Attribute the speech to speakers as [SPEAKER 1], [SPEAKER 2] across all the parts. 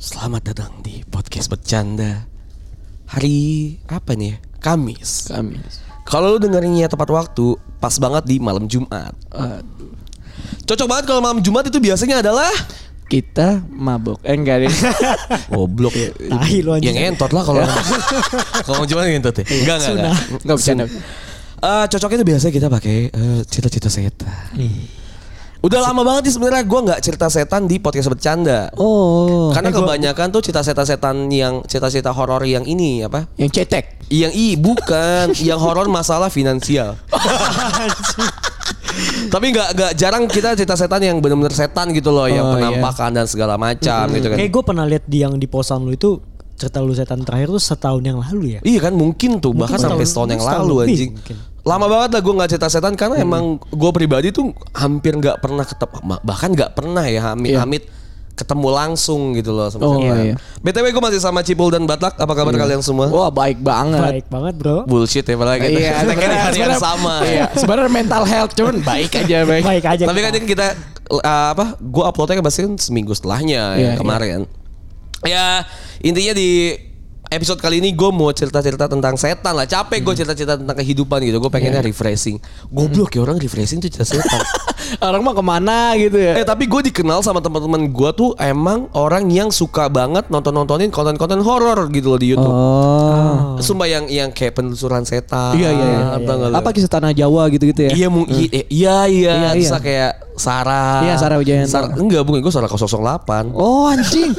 [SPEAKER 1] Selamat datang di podcast bercanda Hari apa nih ya? Kamis
[SPEAKER 2] Kamis.
[SPEAKER 1] Kalau lu dengerinnya tepat waktu Pas banget di malam Jumat
[SPEAKER 2] Aduh.
[SPEAKER 1] Cocok banget kalau malam Jumat itu biasanya adalah
[SPEAKER 2] Kita mabok. Eh enggak deh.
[SPEAKER 1] Goblok
[SPEAKER 3] Tahi lu anjing. Iya,
[SPEAKER 1] Yang entot lah kalau Kalau Jumat yang entot ya? Enggak, enggak, enggak.
[SPEAKER 2] enggak bercanda.
[SPEAKER 1] Eh, Cocoknya itu biasanya kita pakai eh, cerita-cerita setan Udah lama banget nih sebenarnya gue nggak cerita setan di podcast bercanda
[SPEAKER 3] Oh.
[SPEAKER 1] Karena
[SPEAKER 3] Eh, gua-
[SPEAKER 1] kebanyakan tuh cerita setan-setan yang cerita-cerita horor yang ini apa?
[SPEAKER 2] Yang cetek.
[SPEAKER 1] Yang i bukan, yang horor masalah finansial. Tapi nggak nggak jarang kita cerita setan yang benar-benar setan gitu loh, yang
[SPEAKER 2] Oh, iya.
[SPEAKER 1] penampakan dan segala macam gitu kan.
[SPEAKER 3] Kayak gue pernah lihat di yang di posan lu itu cerita lu setan terakhir tuh setahun yang lalu ya.
[SPEAKER 1] Iya kan mungkin tuh
[SPEAKER 3] Mungkin
[SPEAKER 1] bahkan sampai
[SPEAKER 3] setahun-
[SPEAKER 1] setahun yang
[SPEAKER 3] setahun
[SPEAKER 1] lalu
[SPEAKER 3] lebih
[SPEAKER 1] anjing.
[SPEAKER 3] mungkin.
[SPEAKER 1] Lama banget lah gue nggak cerita setan karena emang gue pribadi tuh hampir nggak pernah ketemu bahkan nggak pernah ya Hamid
[SPEAKER 2] Iya.
[SPEAKER 1] Hamid ketemu langsung gitu loh sama
[SPEAKER 2] Oh,
[SPEAKER 1] setan.
[SPEAKER 2] iya. Oh,
[SPEAKER 1] BTW gue masih sama Cipul dan Batak. Apa kabar kalian semua?
[SPEAKER 2] Wah baik
[SPEAKER 1] Iya.
[SPEAKER 2] banget.
[SPEAKER 3] Baik banget bro.
[SPEAKER 1] bullshit ya padahal kita kita
[SPEAKER 2] Iya,
[SPEAKER 1] kira hari yang
[SPEAKER 2] sebenarnya-
[SPEAKER 1] sama
[SPEAKER 2] Iya. Sebenarnya mental health cuman baik aja baik.
[SPEAKER 3] Baik aja.
[SPEAKER 1] tapi kan
[SPEAKER 3] kita.
[SPEAKER 1] ini kita eh, apa gue uploadnya kan pasti kan seminggu setelahnya ya,
[SPEAKER 2] Iya,
[SPEAKER 1] kemarin ya intinya di episode kali ini gue mau cerita-cerita tentang setan lah capek
[SPEAKER 2] Hmm.
[SPEAKER 1] gue cerita-cerita tentang kehidupan gitu gue pengennya
[SPEAKER 2] Iya.
[SPEAKER 1] refreshing goblok ya orang refreshing tuh cerita setan
[SPEAKER 2] Orang mah kemana gitu ya.
[SPEAKER 1] eh tapi gue dikenal sama teman-teman gue tuh emang orang yang suka banget nonton-nontonin konten-konten horor gitu loh di YouTube
[SPEAKER 2] Oh.
[SPEAKER 1] Sumpah yang yang kayak penelusuran setan.
[SPEAKER 2] Iya, iya, iya.
[SPEAKER 1] tau nggak lu?
[SPEAKER 2] Apa kisah tanah Jawa gitu-gitu ya?
[SPEAKER 1] Iya, mung- i- eh, iya, iya,
[SPEAKER 2] Iya,
[SPEAKER 1] bisa
[SPEAKER 2] iya.
[SPEAKER 1] kayak Sarah.
[SPEAKER 2] Iya, Sarah Wijayanto.
[SPEAKER 1] Sarah- enggak, bukan gue Sarah 008.
[SPEAKER 2] Oh anjing.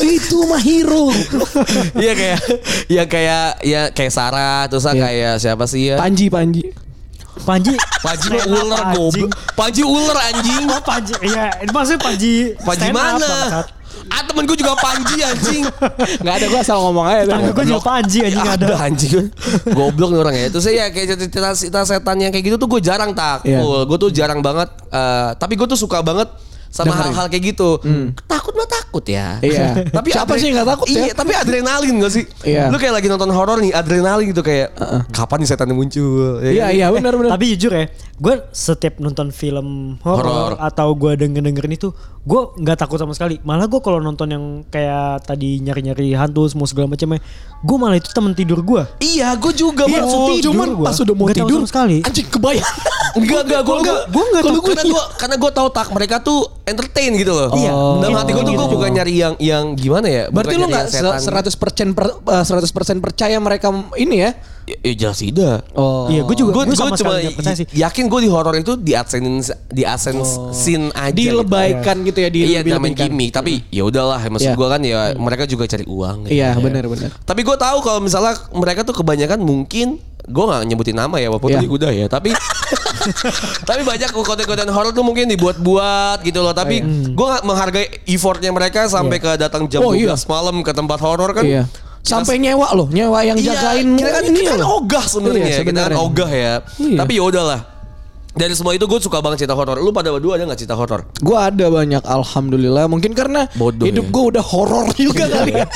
[SPEAKER 2] Itu mah hero.
[SPEAKER 1] Iya kayak ya kayak ya kayak Sarah terus
[SPEAKER 2] Iya.
[SPEAKER 1] kayak siapa sih ya?
[SPEAKER 2] Panji Panji.
[SPEAKER 3] Panji.
[SPEAKER 1] Panji
[SPEAKER 3] stand up,
[SPEAKER 1] ular
[SPEAKER 3] anjing.
[SPEAKER 1] goblok. Panji ular anjing.
[SPEAKER 3] Oh Panji. Iya. Maksudnya Panji.
[SPEAKER 1] Panji
[SPEAKER 3] stand up,
[SPEAKER 1] mana?
[SPEAKER 3] bangsat.
[SPEAKER 1] Ah temen gue juga Panji anjing.
[SPEAKER 2] Enggak ada gua asal ngomong aja. tuh.
[SPEAKER 3] Tangga gue juga Panji
[SPEAKER 2] Iya,
[SPEAKER 3] anjing
[SPEAKER 1] Ya,
[SPEAKER 3] ada.
[SPEAKER 1] ada anjing goblok nih orang ya terus saya kayak cerita cerita setan yang kayak gitu tuh gue jarang tak
[SPEAKER 2] Iya.
[SPEAKER 1] gue tuh jarang banget eh, tapi gue tuh suka banget sama
[SPEAKER 2] Dengerin. Hmm.
[SPEAKER 1] hal-hal kayak gitu takut mah takut ya
[SPEAKER 2] Iya.
[SPEAKER 1] tapi
[SPEAKER 2] Siapa sih yang nggak takut
[SPEAKER 1] iya,
[SPEAKER 2] ya?
[SPEAKER 1] tapi adrenalin gak sih
[SPEAKER 2] Iya.
[SPEAKER 1] lu kayak lagi nonton horor nih adrenalin gitu kayak kapan nih setan muncul ya
[SPEAKER 2] Iya
[SPEAKER 1] kan?
[SPEAKER 2] iya benar benar.
[SPEAKER 3] Tapi jujur ya, gue setiap nonton film
[SPEAKER 1] Horor.
[SPEAKER 3] horor atau gue denger dengerin itu, gue nggak takut sama sekali. Malah gue kalau nonton yang kayak tadi nyari nyari hantu semua segala macamnya, gue malah itu temen tidur gue.
[SPEAKER 1] iya gue juga
[SPEAKER 3] Iya,
[SPEAKER 1] Bro.
[SPEAKER 3] langsung tidur
[SPEAKER 2] cuman
[SPEAKER 3] gua.
[SPEAKER 2] pas udah mau
[SPEAKER 3] Nggak tahu
[SPEAKER 2] tidur
[SPEAKER 3] sama sekali.
[SPEAKER 2] Anjing kebayang.
[SPEAKER 1] Enggak, enggak, gue enggak.
[SPEAKER 2] Gue enggak
[SPEAKER 1] Kalau
[SPEAKER 2] tahu
[SPEAKER 1] karena gue karena gue tahu tak mereka tuh entertain gitu loh.
[SPEAKER 3] Iya,
[SPEAKER 1] Dalam
[SPEAKER 3] mungkin
[SPEAKER 1] hati gue tuh gue
[SPEAKER 3] gitu.
[SPEAKER 1] bukan nyari yang yang gimana ya.
[SPEAKER 2] Berarti
[SPEAKER 1] bukan
[SPEAKER 2] lu
[SPEAKER 1] nyari
[SPEAKER 2] nggak
[SPEAKER 1] yang setan.
[SPEAKER 2] seratus persen eh, seratus persen percaya mereka m- ini ya?
[SPEAKER 1] Ya, ya jelas tidak.
[SPEAKER 2] Oh.
[SPEAKER 3] Iya, gue juga
[SPEAKER 1] Gue
[SPEAKER 3] gue sama
[SPEAKER 1] cuma
[SPEAKER 3] sekali nggak percaya sih.
[SPEAKER 1] yakin gue di horor itu diabsenin diabsen sin aja.
[SPEAKER 2] Oh. dilebaikan gitu ya,
[SPEAKER 1] Gitu. Iya,
[SPEAKER 2] dilebih
[SPEAKER 1] main gimmick, tapi ya udahlah maksud
[SPEAKER 2] Iya.
[SPEAKER 1] gue kan ya mereka juga cari uang. gitu.
[SPEAKER 2] Iya, benar benar.
[SPEAKER 1] Tapi gue tahu kalau misalnya mereka tuh kebanyakan mungkin gue nggak nyebutin nama ya walaupun
[SPEAKER 2] Iya.
[SPEAKER 1] tadi udah ya tapi tapi banyak konten-konten horor tuh mungkin dibuat-buat gitu loh tapi gue nggak menghargai effortnya mereka sampai ke datang jam 12
[SPEAKER 2] Iya. Oh, iya.
[SPEAKER 1] malam ke tempat horor kan
[SPEAKER 2] Iya. Sampai nyewa loh, nyewa yang
[SPEAKER 1] Iya,
[SPEAKER 2] jagain
[SPEAKER 1] kita kan,
[SPEAKER 2] ini
[SPEAKER 1] kita kan
[SPEAKER 2] loh.
[SPEAKER 1] ogah sebenarnya
[SPEAKER 2] Iya,
[SPEAKER 1] kita kan
[SPEAKER 2] sebenarnya.
[SPEAKER 1] ogah ya
[SPEAKER 2] Iya.
[SPEAKER 1] tapi ya udahlah dari semua itu gue suka banget cerita horor lu pada berdua ada nggak cerita horor
[SPEAKER 2] Gue ada banyak alhamdulillah. Mungkin karena
[SPEAKER 1] Bodoh
[SPEAKER 2] hidup
[SPEAKER 1] ya.
[SPEAKER 2] gue udah horor juga kali ya.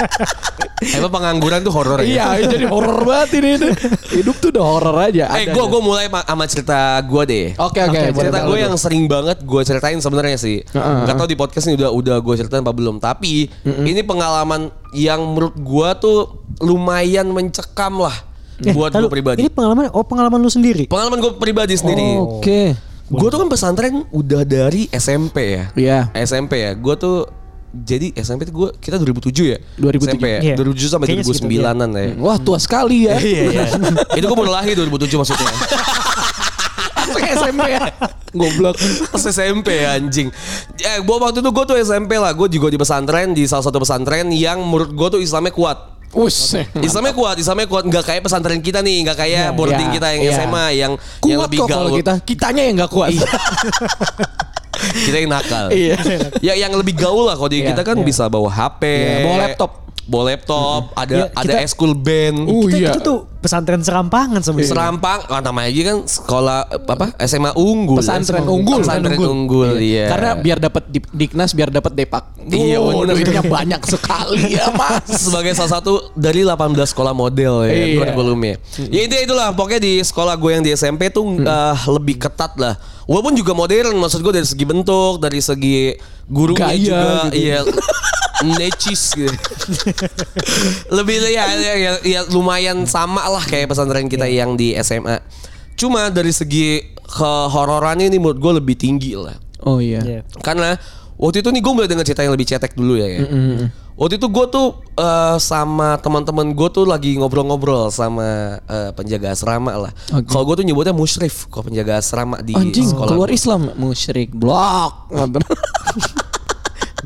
[SPEAKER 1] emang pengangguran tuh horor ya
[SPEAKER 2] Iya, jadi horor banget ini. Hidup tuh udah horor aja.
[SPEAKER 1] eh
[SPEAKER 2] Ada,
[SPEAKER 1] gue
[SPEAKER 2] ada.
[SPEAKER 1] gue mulai ma- sama cerita gue deh
[SPEAKER 2] Oke oke.
[SPEAKER 3] Oke,
[SPEAKER 1] cerita
[SPEAKER 2] boleh,
[SPEAKER 1] gue
[SPEAKER 2] boleh.
[SPEAKER 1] yang sering banget gue ceritain sebenarnya sih
[SPEAKER 2] Heeh.
[SPEAKER 1] nggak tahu di podcast ini udah udah gue ceritain apa belum tapi ini pengalaman yang menurut gue tuh lumayan mencekam lah
[SPEAKER 3] Eh,
[SPEAKER 1] buat
[SPEAKER 3] tar
[SPEAKER 1] gue
[SPEAKER 3] lu, Ini
[SPEAKER 1] pribadi
[SPEAKER 3] pengalaman oh pengalaman lu sendiri.
[SPEAKER 1] pengalaman gue pribadi sendiri
[SPEAKER 2] Oke.
[SPEAKER 1] gue tuh kan pesantren udah dari SMP ya
[SPEAKER 2] Iya.
[SPEAKER 1] SMP ya gue tuh jadi SMP tuh gue kita 2007 ya
[SPEAKER 2] 2007.
[SPEAKER 1] SMP ya
[SPEAKER 3] Iya.
[SPEAKER 1] 2007 sampai
[SPEAKER 3] Kayaknya segitu,
[SPEAKER 1] 2009an ya
[SPEAKER 2] Wah tua sekali ya.
[SPEAKER 1] Iya iya. Itu gue baru lahir 2007 maksudnya.
[SPEAKER 2] SMP ya. Goblok.
[SPEAKER 1] Pas SMP ya, anjing. Eh, gua waktu itu gue tuh SMP lah. Gue juga di pesantren di salah satu pesantren yang menurut gue tuh Islamnya kuat.
[SPEAKER 2] Us.
[SPEAKER 1] Islamnya kuat, Islamnya kuat. Nggak kayak pesantren kita nih, nggak kayak boarding
[SPEAKER 2] Hmm. Iya,
[SPEAKER 1] kita yang
[SPEAKER 2] iya.
[SPEAKER 1] SMA yang yang
[SPEAKER 2] Kuat
[SPEAKER 1] lebih
[SPEAKER 2] kok kalau
[SPEAKER 1] gaul. Iya.
[SPEAKER 2] kita. Kitanya yang gak kuat.
[SPEAKER 1] Kita yang nakal.
[SPEAKER 2] Iya.
[SPEAKER 1] ya yang lebih gaul lah kalau di
[SPEAKER 2] Iya,
[SPEAKER 1] kita kan bisa bawa HP,
[SPEAKER 2] Iya, bawa laptop. Ya,
[SPEAKER 1] bawa laptop, ada
[SPEAKER 3] Iya,
[SPEAKER 1] ada
[SPEAKER 3] kita-
[SPEAKER 1] eskul band.
[SPEAKER 2] Uh,
[SPEAKER 3] Kita-
[SPEAKER 2] iya.
[SPEAKER 3] Kita tuh pesantren serampangan sebenarnya.
[SPEAKER 1] Serampang, oh, namanya aja kan sekolah apa SMA unggul.
[SPEAKER 2] Pesantren
[SPEAKER 1] SMA
[SPEAKER 2] unggul.
[SPEAKER 1] Iya. Pesantren
[SPEAKER 2] Pesantren
[SPEAKER 1] unggul, iya.
[SPEAKER 2] Karena biar dapat dip- diknas, biar dapat depak.
[SPEAKER 1] Iya,
[SPEAKER 2] Oh,
[SPEAKER 1] bener.
[SPEAKER 2] duitnya banyak sekali ya mas.
[SPEAKER 1] sebagai salah satu dari 18 sekolah model ya
[SPEAKER 2] Iya.
[SPEAKER 1] kurikulumnya. Ya intinya itulah pokoknya di sekolah gue yang di SMP tuh eh, lebih ketat lah. Walaupun juga modern maksud gue dari segi bentuk, dari segi gurunya
[SPEAKER 2] Gaya
[SPEAKER 1] juga
[SPEAKER 2] gitu.
[SPEAKER 1] iya. necis gitu. Lebih ya, ya, ya- ya lumayan sama lah kayak pesantren kita
[SPEAKER 2] Iya.
[SPEAKER 1] yang di SMA. Cuma dari segi kehororannya ini menurut gue lebih tinggi lah.
[SPEAKER 2] Oh iya.
[SPEAKER 3] Iya.
[SPEAKER 1] Karena waktu itu nih gue mulai dengan cerita yang lebih cetek dulu ya. ya. Waktu itu gue tuh eh, sama teman-teman gue tuh lagi ngobrol-ngobrol sama eh, penjaga asrama lah.
[SPEAKER 2] Oke.
[SPEAKER 1] Kalau gue tuh nyebutnya musyrif, kalau penjaga asrama di
[SPEAKER 2] Anjing
[SPEAKER 1] sekolah.
[SPEAKER 2] keluar Islam musyrik blok.
[SPEAKER 1] Iya.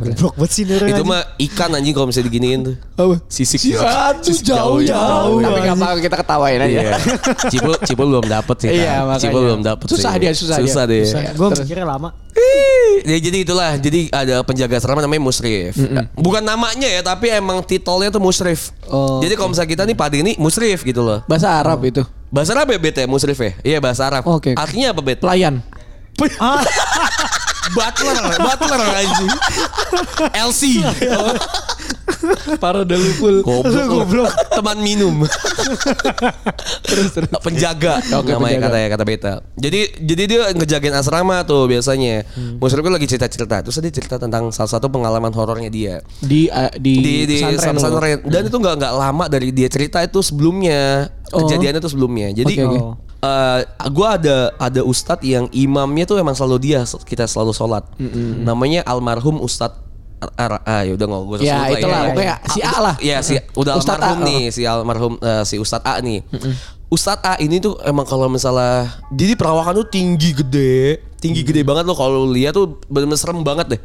[SPEAKER 3] Goblok banget sih Nero.
[SPEAKER 1] Itu mah ikan anjing kalau misalnya diginiin tuh.
[SPEAKER 2] Apa? Iya.
[SPEAKER 1] Sisik.
[SPEAKER 2] Aduh
[SPEAKER 1] Sisik jauh, jauh.
[SPEAKER 2] Tapi nggak apa kita ketawain aja.
[SPEAKER 1] Iya. Cipul, Cipul belum dapet sih.
[SPEAKER 2] Iya,
[SPEAKER 1] Tan.
[SPEAKER 2] makanya.
[SPEAKER 1] Cipul belum dapet
[SPEAKER 2] Susah
[SPEAKER 1] sih.
[SPEAKER 2] dia, susah dia.
[SPEAKER 1] Susah deh.
[SPEAKER 2] Susah.
[SPEAKER 3] Gue
[SPEAKER 2] Terus.
[SPEAKER 3] mikirnya lama.
[SPEAKER 1] Ya, jadi itulah. Jadi ada penjaga asrama namanya Musrif. Nah, Bukan namanya ya, tapi emang titolnya tuh Musrif.
[SPEAKER 2] Oh,
[SPEAKER 1] jadi kalau misalnya kita nih pade ini Musrif gitu loh.
[SPEAKER 2] Bahasa Arab itu.
[SPEAKER 1] Bahasa Arab ya Bet ya Musrif ya? Iya bahasa Arab.
[SPEAKER 2] Oke.
[SPEAKER 1] Artinya apa Bet?
[SPEAKER 2] Pelayan.
[SPEAKER 3] Ah,
[SPEAKER 1] Butler, Butler anjing. LC.
[SPEAKER 2] Para delupul.
[SPEAKER 1] Goblok. Goblok. Teman minum.
[SPEAKER 2] terus terus.
[SPEAKER 1] penjaga
[SPEAKER 2] Oke,
[SPEAKER 1] namanya
[SPEAKER 2] penjaga.
[SPEAKER 1] kata ya kata beta. Jadi jadi dia ngejagain asrama tuh biasanya.
[SPEAKER 2] Hmm.
[SPEAKER 1] Musrif kan lagi cerita-cerita. Terus dia cerita tentang salah satu pengalaman horornya dia.
[SPEAKER 2] Di eh, di,
[SPEAKER 1] di di
[SPEAKER 2] pesantren lu.
[SPEAKER 1] pesantren. dan itu nggak nggak lama dari dia cerita itu sebelumnya
[SPEAKER 2] Oh.
[SPEAKER 1] kejadiannya itu sebelumnya jadi
[SPEAKER 2] Oke,
[SPEAKER 1] eh
[SPEAKER 2] oke.
[SPEAKER 1] gue ada ada ustadz yang imamnya tuh emang selalu dia kita selalu sholat namanya almarhum ustadz Ar- Ar- ah ya udah nggak gue
[SPEAKER 2] Ya, itulah, pokoknya si A lah.
[SPEAKER 1] ya si udah
[SPEAKER 2] Ustadz A,
[SPEAKER 1] almarhum
[SPEAKER 2] oh.
[SPEAKER 1] nih si almarhum eh, si ustadz A nih Ustadz A ini tuh emang kalau misalnya jadi perawakan tuh tinggi gede, tinggi gede banget lo kalau lu lihat tuh bener-bener serem banget deh.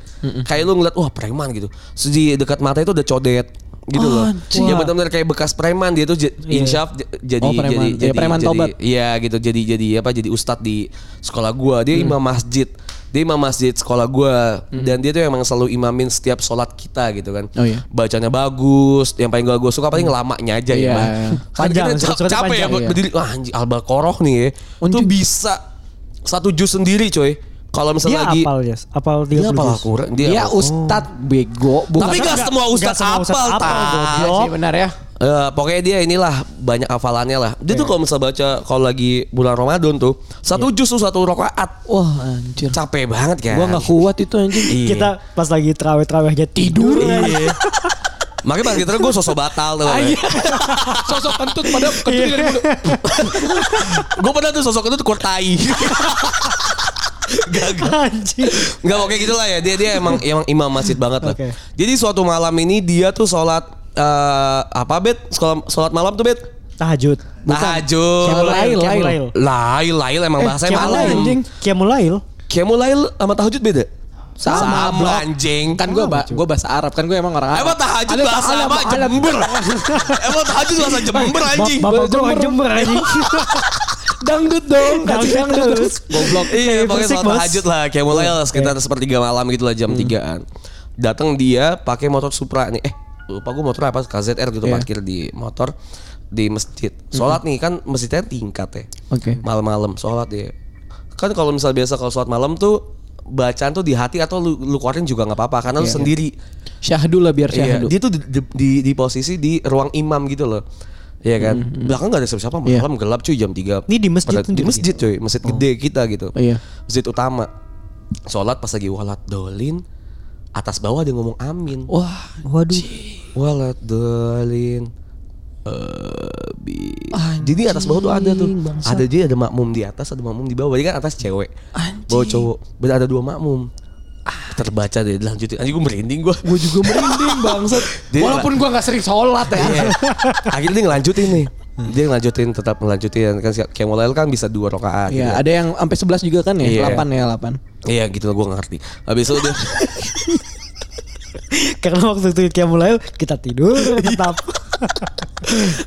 [SPEAKER 1] Kayak lu ngeliat wah preman gitu. Terus di dekat mata itu udah codet gitu loh.
[SPEAKER 2] Anjing.
[SPEAKER 1] Ya benar-benar kayak bekas preman dia tuh j- insyaf j- jadi
[SPEAKER 2] Oh, preman.
[SPEAKER 1] jadi
[SPEAKER 2] Ya, preman
[SPEAKER 1] jadi-
[SPEAKER 2] tobat.
[SPEAKER 1] Iya gitu. Jadi jadi apa jadi ustadz di sekolah gua. Dia
[SPEAKER 2] Hmm.
[SPEAKER 1] imam masjid. Dia imam masjid sekolah gua dan dia tuh emang selalu imamin setiap sholat kita gitu kan.
[SPEAKER 2] Oh, iya.
[SPEAKER 1] Bacanya bagus. Yang paling gua gua suka paling lamanya aja
[SPEAKER 2] Iya.
[SPEAKER 1] ya. Bang. Kan
[SPEAKER 3] Panjang,
[SPEAKER 1] kita ca-
[SPEAKER 3] surat-surat
[SPEAKER 1] capek ya
[SPEAKER 3] panjang,
[SPEAKER 1] buat
[SPEAKER 2] iya.
[SPEAKER 1] berdiri. Wah, anjing Al-Baqarah nih ya. Itu
[SPEAKER 2] Anjing.
[SPEAKER 1] bisa satu jus sendiri, coy. Kalau
[SPEAKER 3] Dia
[SPEAKER 1] misalnya lagi
[SPEAKER 3] apal yes. Apal 30
[SPEAKER 1] dia apal
[SPEAKER 3] juz.
[SPEAKER 1] Al-Quran, dia,
[SPEAKER 2] Dia
[SPEAKER 1] apal-
[SPEAKER 2] ustad bego bukan
[SPEAKER 1] Tapi
[SPEAKER 3] Karena
[SPEAKER 1] nggak semua
[SPEAKER 3] nggak
[SPEAKER 1] ustadz
[SPEAKER 3] semua ustadz
[SPEAKER 1] apal,
[SPEAKER 3] apal,
[SPEAKER 1] Tan.
[SPEAKER 3] goblok.
[SPEAKER 2] Ah, sih benar ya.
[SPEAKER 1] Eh, pokoknya dia inilah banyak hafalannya lah. Dia
[SPEAKER 2] Iya.
[SPEAKER 1] tuh kalau misal baca kalau lagi bulan Ramadan tuh satu juz tuh satu rakaat.
[SPEAKER 2] Wah, Oh, anjir.
[SPEAKER 1] Capek banget kan.
[SPEAKER 2] Gua nggak kuat itu anjing.
[SPEAKER 1] Iya.
[SPEAKER 3] Kita pas lagi terawih-terawih aja tidur.
[SPEAKER 1] Iya. Makanya pas gitu gue sosok batal tuh.
[SPEAKER 2] Iya. Sosok kentut pada kentut
[SPEAKER 3] Iya.
[SPEAKER 1] gue pernah tuh sosok itu tuh kurtai. Gagal.
[SPEAKER 3] Anjing.
[SPEAKER 1] Enggak oke gitu lah ya. Dia dia emang emang imam masjid banget lah.
[SPEAKER 3] Oke.
[SPEAKER 1] Jadi suatu malam ini dia tuh sholat eh, apa bet? Sekolah sholat malam tuh bet?
[SPEAKER 3] Tahajud.
[SPEAKER 1] Tahajud.
[SPEAKER 2] Siapa Lail,
[SPEAKER 3] Kiamulail.
[SPEAKER 2] Lail.
[SPEAKER 1] Lail, lail emang bahasa
[SPEAKER 2] siapa
[SPEAKER 1] malam.
[SPEAKER 2] lain, Eh, anjing?
[SPEAKER 3] Eh, Kiamulail.
[SPEAKER 1] Kiamu lail sama tahajud beda?
[SPEAKER 2] Sama, blok.
[SPEAKER 1] anjing.
[SPEAKER 2] Kan gua ba- gua bahasa Arab kan gua emang orang Arab.
[SPEAKER 1] Emang tahajud
[SPEAKER 2] Ada
[SPEAKER 1] bahasa
[SPEAKER 2] alam,
[SPEAKER 1] apa?
[SPEAKER 2] alam.
[SPEAKER 1] Jember. Emang tahajud bahasa Jember anjing.
[SPEAKER 3] Bapak gue
[SPEAKER 2] Jember.
[SPEAKER 3] orang Jember anjing.
[SPEAKER 2] Dangdut dong, kasih
[SPEAKER 3] Dangdut
[SPEAKER 2] dangdut
[SPEAKER 3] terus.
[SPEAKER 2] terus. Goblok.
[SPEAKER 1] Iya,
[SPEAKER 3] Kayak
[SPEAKER 1] pakai
[SPEAKER 3] Persik,
[SPEAKER 1] sholat
[SPEAKER 3] Bos.
[SPEAKER 1] tahajud lah. Kayak
[SPEAKER 2] Iya.
[SPEAKER 1] mulai lah sekitar sepertiga malam gitu lah
[SPEAKER 2] Hmm.
[SPEAKER 1] jam 3-an. Datang dia pakai motor Supra nih. Eh, lupa gue motor apa KZR gitu
[SPEAKER 2] Iya. Hmm.
[SPEAKER 1] parkir di motor di masjid. Sholat nih kan masjidnya tingkat ya.
[SPEAKER 2] Oke.
[SPEAKER 1] Malam-malam sholat ya. Kan kalau misal biasa kalau sholat malam tuh bacaan tuh di hati atau lu, lu keluarin juga nggak apa-apa karena lu
[SPEAKER 2] Iya.
[SPEAKER 1] sendiri.
[SPEAKER 2] Syahdu lah biar
[SPEAKER 1] Iya,
[SPEAKER 2] syahdu.
[SPEAKER 1] dia tuh di, di- di- di posisi di ruang imam gitu loh. Iya kan? Belakang gak ada siapa-siapa,
[SPEAKER 2] Iya.
[SPEAKER 1] malam gelap cuy jam 3.
[SPEAKER 3] Ini di masjid
[SPEAKER 1] Padahal- Di
[SPEAKER 3] sendiri?
[SPEAKER 1] masjid cuy, masjid gede kita gitu.
[SPEAKER 2] Iya.
[SPEAKER 1] Masjid utama. Sholat pas lagi walat dolin, atas bawah dia ngomong amin.
[SPEAKER 2] Wah,
[SPEAKER 3] Waduh.
[SPEAKER 1] Walat dolin. Abi. Jadi atas bawah tuh ada tuh. Ada dia ada makmum di atas, ada makmum di bawah. Jadi kan atas cewek. Bawah cowok. Berarti ada dua makmum. Ah, Terbaca deh lanjutin. Anjing gue merinding gue.
[SPEAKER 2] gua juga merinding bangsat.
[SPEAKER 1] Dia-
[SPEAKER 2] Walaupun gua nggak sering sholat ya.
[SPEAKER 1] Iya. Akhirnya dia ngelanjutin nih. Dia ngelanjutin tetap ngelanjutin kan si- kayak mulai kan bisa dua rakaat.
[SPEAKER 2] Iya,
[SPEAKER 1] gitu.
[SPEAKER 2] ada yang sampai 11 juga kan
[SPEAKER 1] Iya.
[SPEAKER 2] ya? 8 ya, 8.
[SPEAKER 1] Iya gitu gue ngerti. Habis itu dia
[SPEAKER 3] Karena waktu itu Kiamulail kita tidur
[SPEAKER 1] Iya.
[SPEAKER 3] tetap.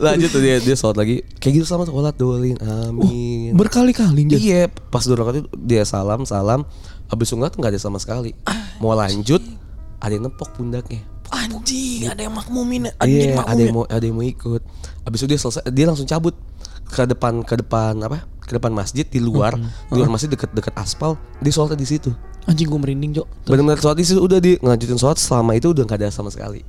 [SPEAKER 1] lanjut tuh dia dia sholat lagi. Kayak gitu sama sholat dolin. Amin.
[SPEAKER 2] Berkali-kali dia.
[SPEAKER 1] iya, pas dua rakaat itu dia salam salam. Habis sungat nggak ada sama sekali. Mau lanjut ada yang nepok pundaknya.
[SPEAKER 2] Anjing, ada yang makmumin. ya?
[SPEAKER 1] Iya, ada yang mau ada yang mau ikut. Habis itu dia selesai dia langsung cabut ke depan ke depan apa? Ke depan masjid di luar, di luar masjid deket-deket aspal, dia sholatnya di situ.
[SPEAKER 2] Anjing gua merinding, Jok.
[SPEAKER 1] Benar-benar sholat di situ udah di ngelanjutin sholat selama itu udah nggak ada sama sekali.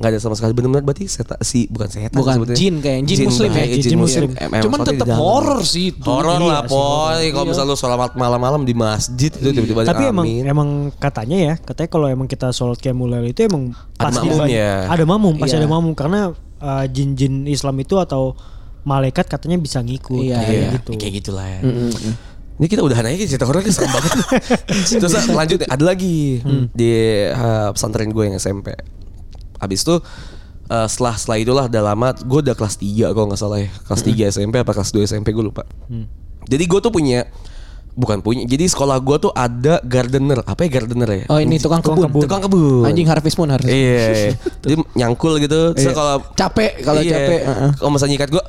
[SPEAKER 1] nggak ada sama sekali benar-benar berarti seta, si bukan setan
[SPEAKER 2] Bukan,
[SPEAKER 1] sebetulnya.
[SPEAKER 2] jin kayaknya, jin muslim ya,
[SPEAKER 1] kayak
[SPEAKER 3] jin muslim.
[SPEAKER 1] Emang
[SPEAKER 2] Cuman
[SPEAKER 1] soalnya di
[SPEAKER 2] tetap
[SPEAKER 1] dalam.
[SPEAKER 2] horor sih itu.
[SPEAKER 1] horor
[SPEAKER 2] Iya
[SPEAKER 1] lah
[SPEAKER 2] sih,
[SPEAKER 1] boy kalau misalnya lu sholat malam-malam di masjid itu tiba-tiba
[SPEAKER 3] Tapi emang
[SPEAKER 1] amin.
[SPEAKER 3] emang katanya ya, katanya kalau emang kita sholat qiyamul lail itu emang
[SPEAKER 1] Ada
[SPEAKER 3] pasti
[SPEAKER 1] makmum
[SPEAKER 3] banyak-
[SPEAKER 1] ya.
[SPEAKER 3] Ada mamum, pasti
[SPEAKER 2] Iya.
[SPEAKER 3] ada mamum karena uh, jin-jin Islam itu atau malaikat katanya bisa ngikut
[SPEAKER 2] Iya,
[SPEAKER 3] kayak
[SPEAKER 1] Iya,
[SPEAKER 3] gitu.
[SPEAKER 1] kayak gitulah ya. Ini kita udahan aja cerita horornya serem banget. Terus lanjut ya, ada lagi
[SPEAKER 2] Mm.
[SPEAKER 1] di eh, pesantren gue yang SMP. Habis itu eh, setelah setelah itulah udah lama gue udah kelas 3 kalau nggak salah ya. Kelas 3 SMP apa kelas 2 SMP gue lupa.
[SPEAKER 2] Mm.
[SPEAKER 1] Jadi gue tuh punya bukan punya. Jadi sekolah gue tuh ada gardener. Apa ya gardener ya?
[SPEAKER 2] Oh ini tukang
[SPEAKER 1] Tukang
[SPEAKER 2] kebun.
[SPEAKER 1] kebun. Tukang kebun.
[SPEAKER 2] Anjing Harvest Moon harus.
[SPEAKER 1] Iya, iya. Jadi nyangkul gitu. Terus
[SPEAKER 2] Iya.
[SPEAKER 1] kalau
[SPEAKER 2] Capek, kalau
[SPEAKER 1] Iya.
[SPEAKER 2] capek, heeh.
[SPEAKER 1] Kalau misalnya nyikat gue,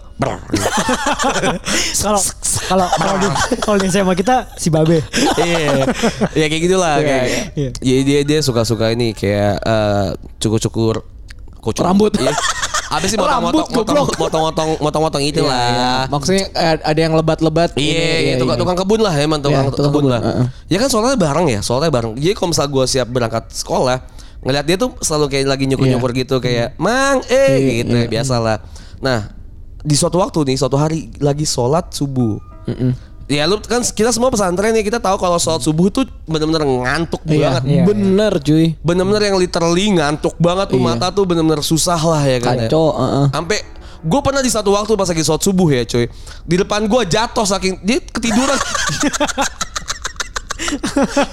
[SPEAKER 3] Kalau kalau kalau di- kalau di SMA kita si Babe.
[SPEAKER 1] Iya, ya kayak gitulah.
[SPEAKER 2] Iya,
[SPEAKER 1] kayak,
[SPEAKER 3] iya.
[SPEAKER 1] Jadi dia dia suka-suka ini kayak eh, cukur-cukur kucur.
[SPEAKER 2] Rambut.
[SPEAKER 1] Iya. Abis sih
[SPEAKER 2] Rambut,
[SPEAKER 1] motong-motong, motong-
[SPEAKER 2] goblok.
[SPEAKER 1] motong-motong, motong-motong
[SPEAKER 2] Iya, iya.
[SPEAKER 1] itulah.
[SPEAKER 2] Maksudnya eh, ada yang lebat-lebat. ini,
[SPEAKER 1] Iya, tukang, tukang kebun lah emang tukang,
[SPEAKER 2] Iya, tukang
[SPEAKER 1] kebun,
[SPEAKER 2] kebun,
[SPEAKER 1] lah.
[SPEAKER 2] heeh.
[SPEAKER 1] Ya kan soalnya bareng ya, soalnya bareng. Jadi kalau misal gue siap berangkat sekolah, ngeliat dia tuh selalu kayak lagi nyukur-nyukur gitu kayak mang eh
[SPEAKER 2] Iya,
[SPEAKER 1] gitu ya, biasalah. Nah, di suatu waktu nih, suatu hari lagi sholat subuh. Ya lu kan kita semua pesantren ya kita tahu kalau sholat subuh tuh bener-bener ngantuk banget.
[SPEAKER 2] Iya,
[SPEAKER 3] Iya, iya.
[SPEAKER 2] bener cuy.
[SPEAKER 1] Bener-bener yang literally ngantuk banget tuh
[SPEAKER 2] Iya.
[SPEAKER 1] mata tuh bener-bener susah lah ya kan. ya.
[SPEAKER 2] Kacau, heeh.
[SPEAKER 1] Sampai gue pernah di satu waktu pas lagi sholat subuh ya cuy di depan gue jatuh saking dia ketiduran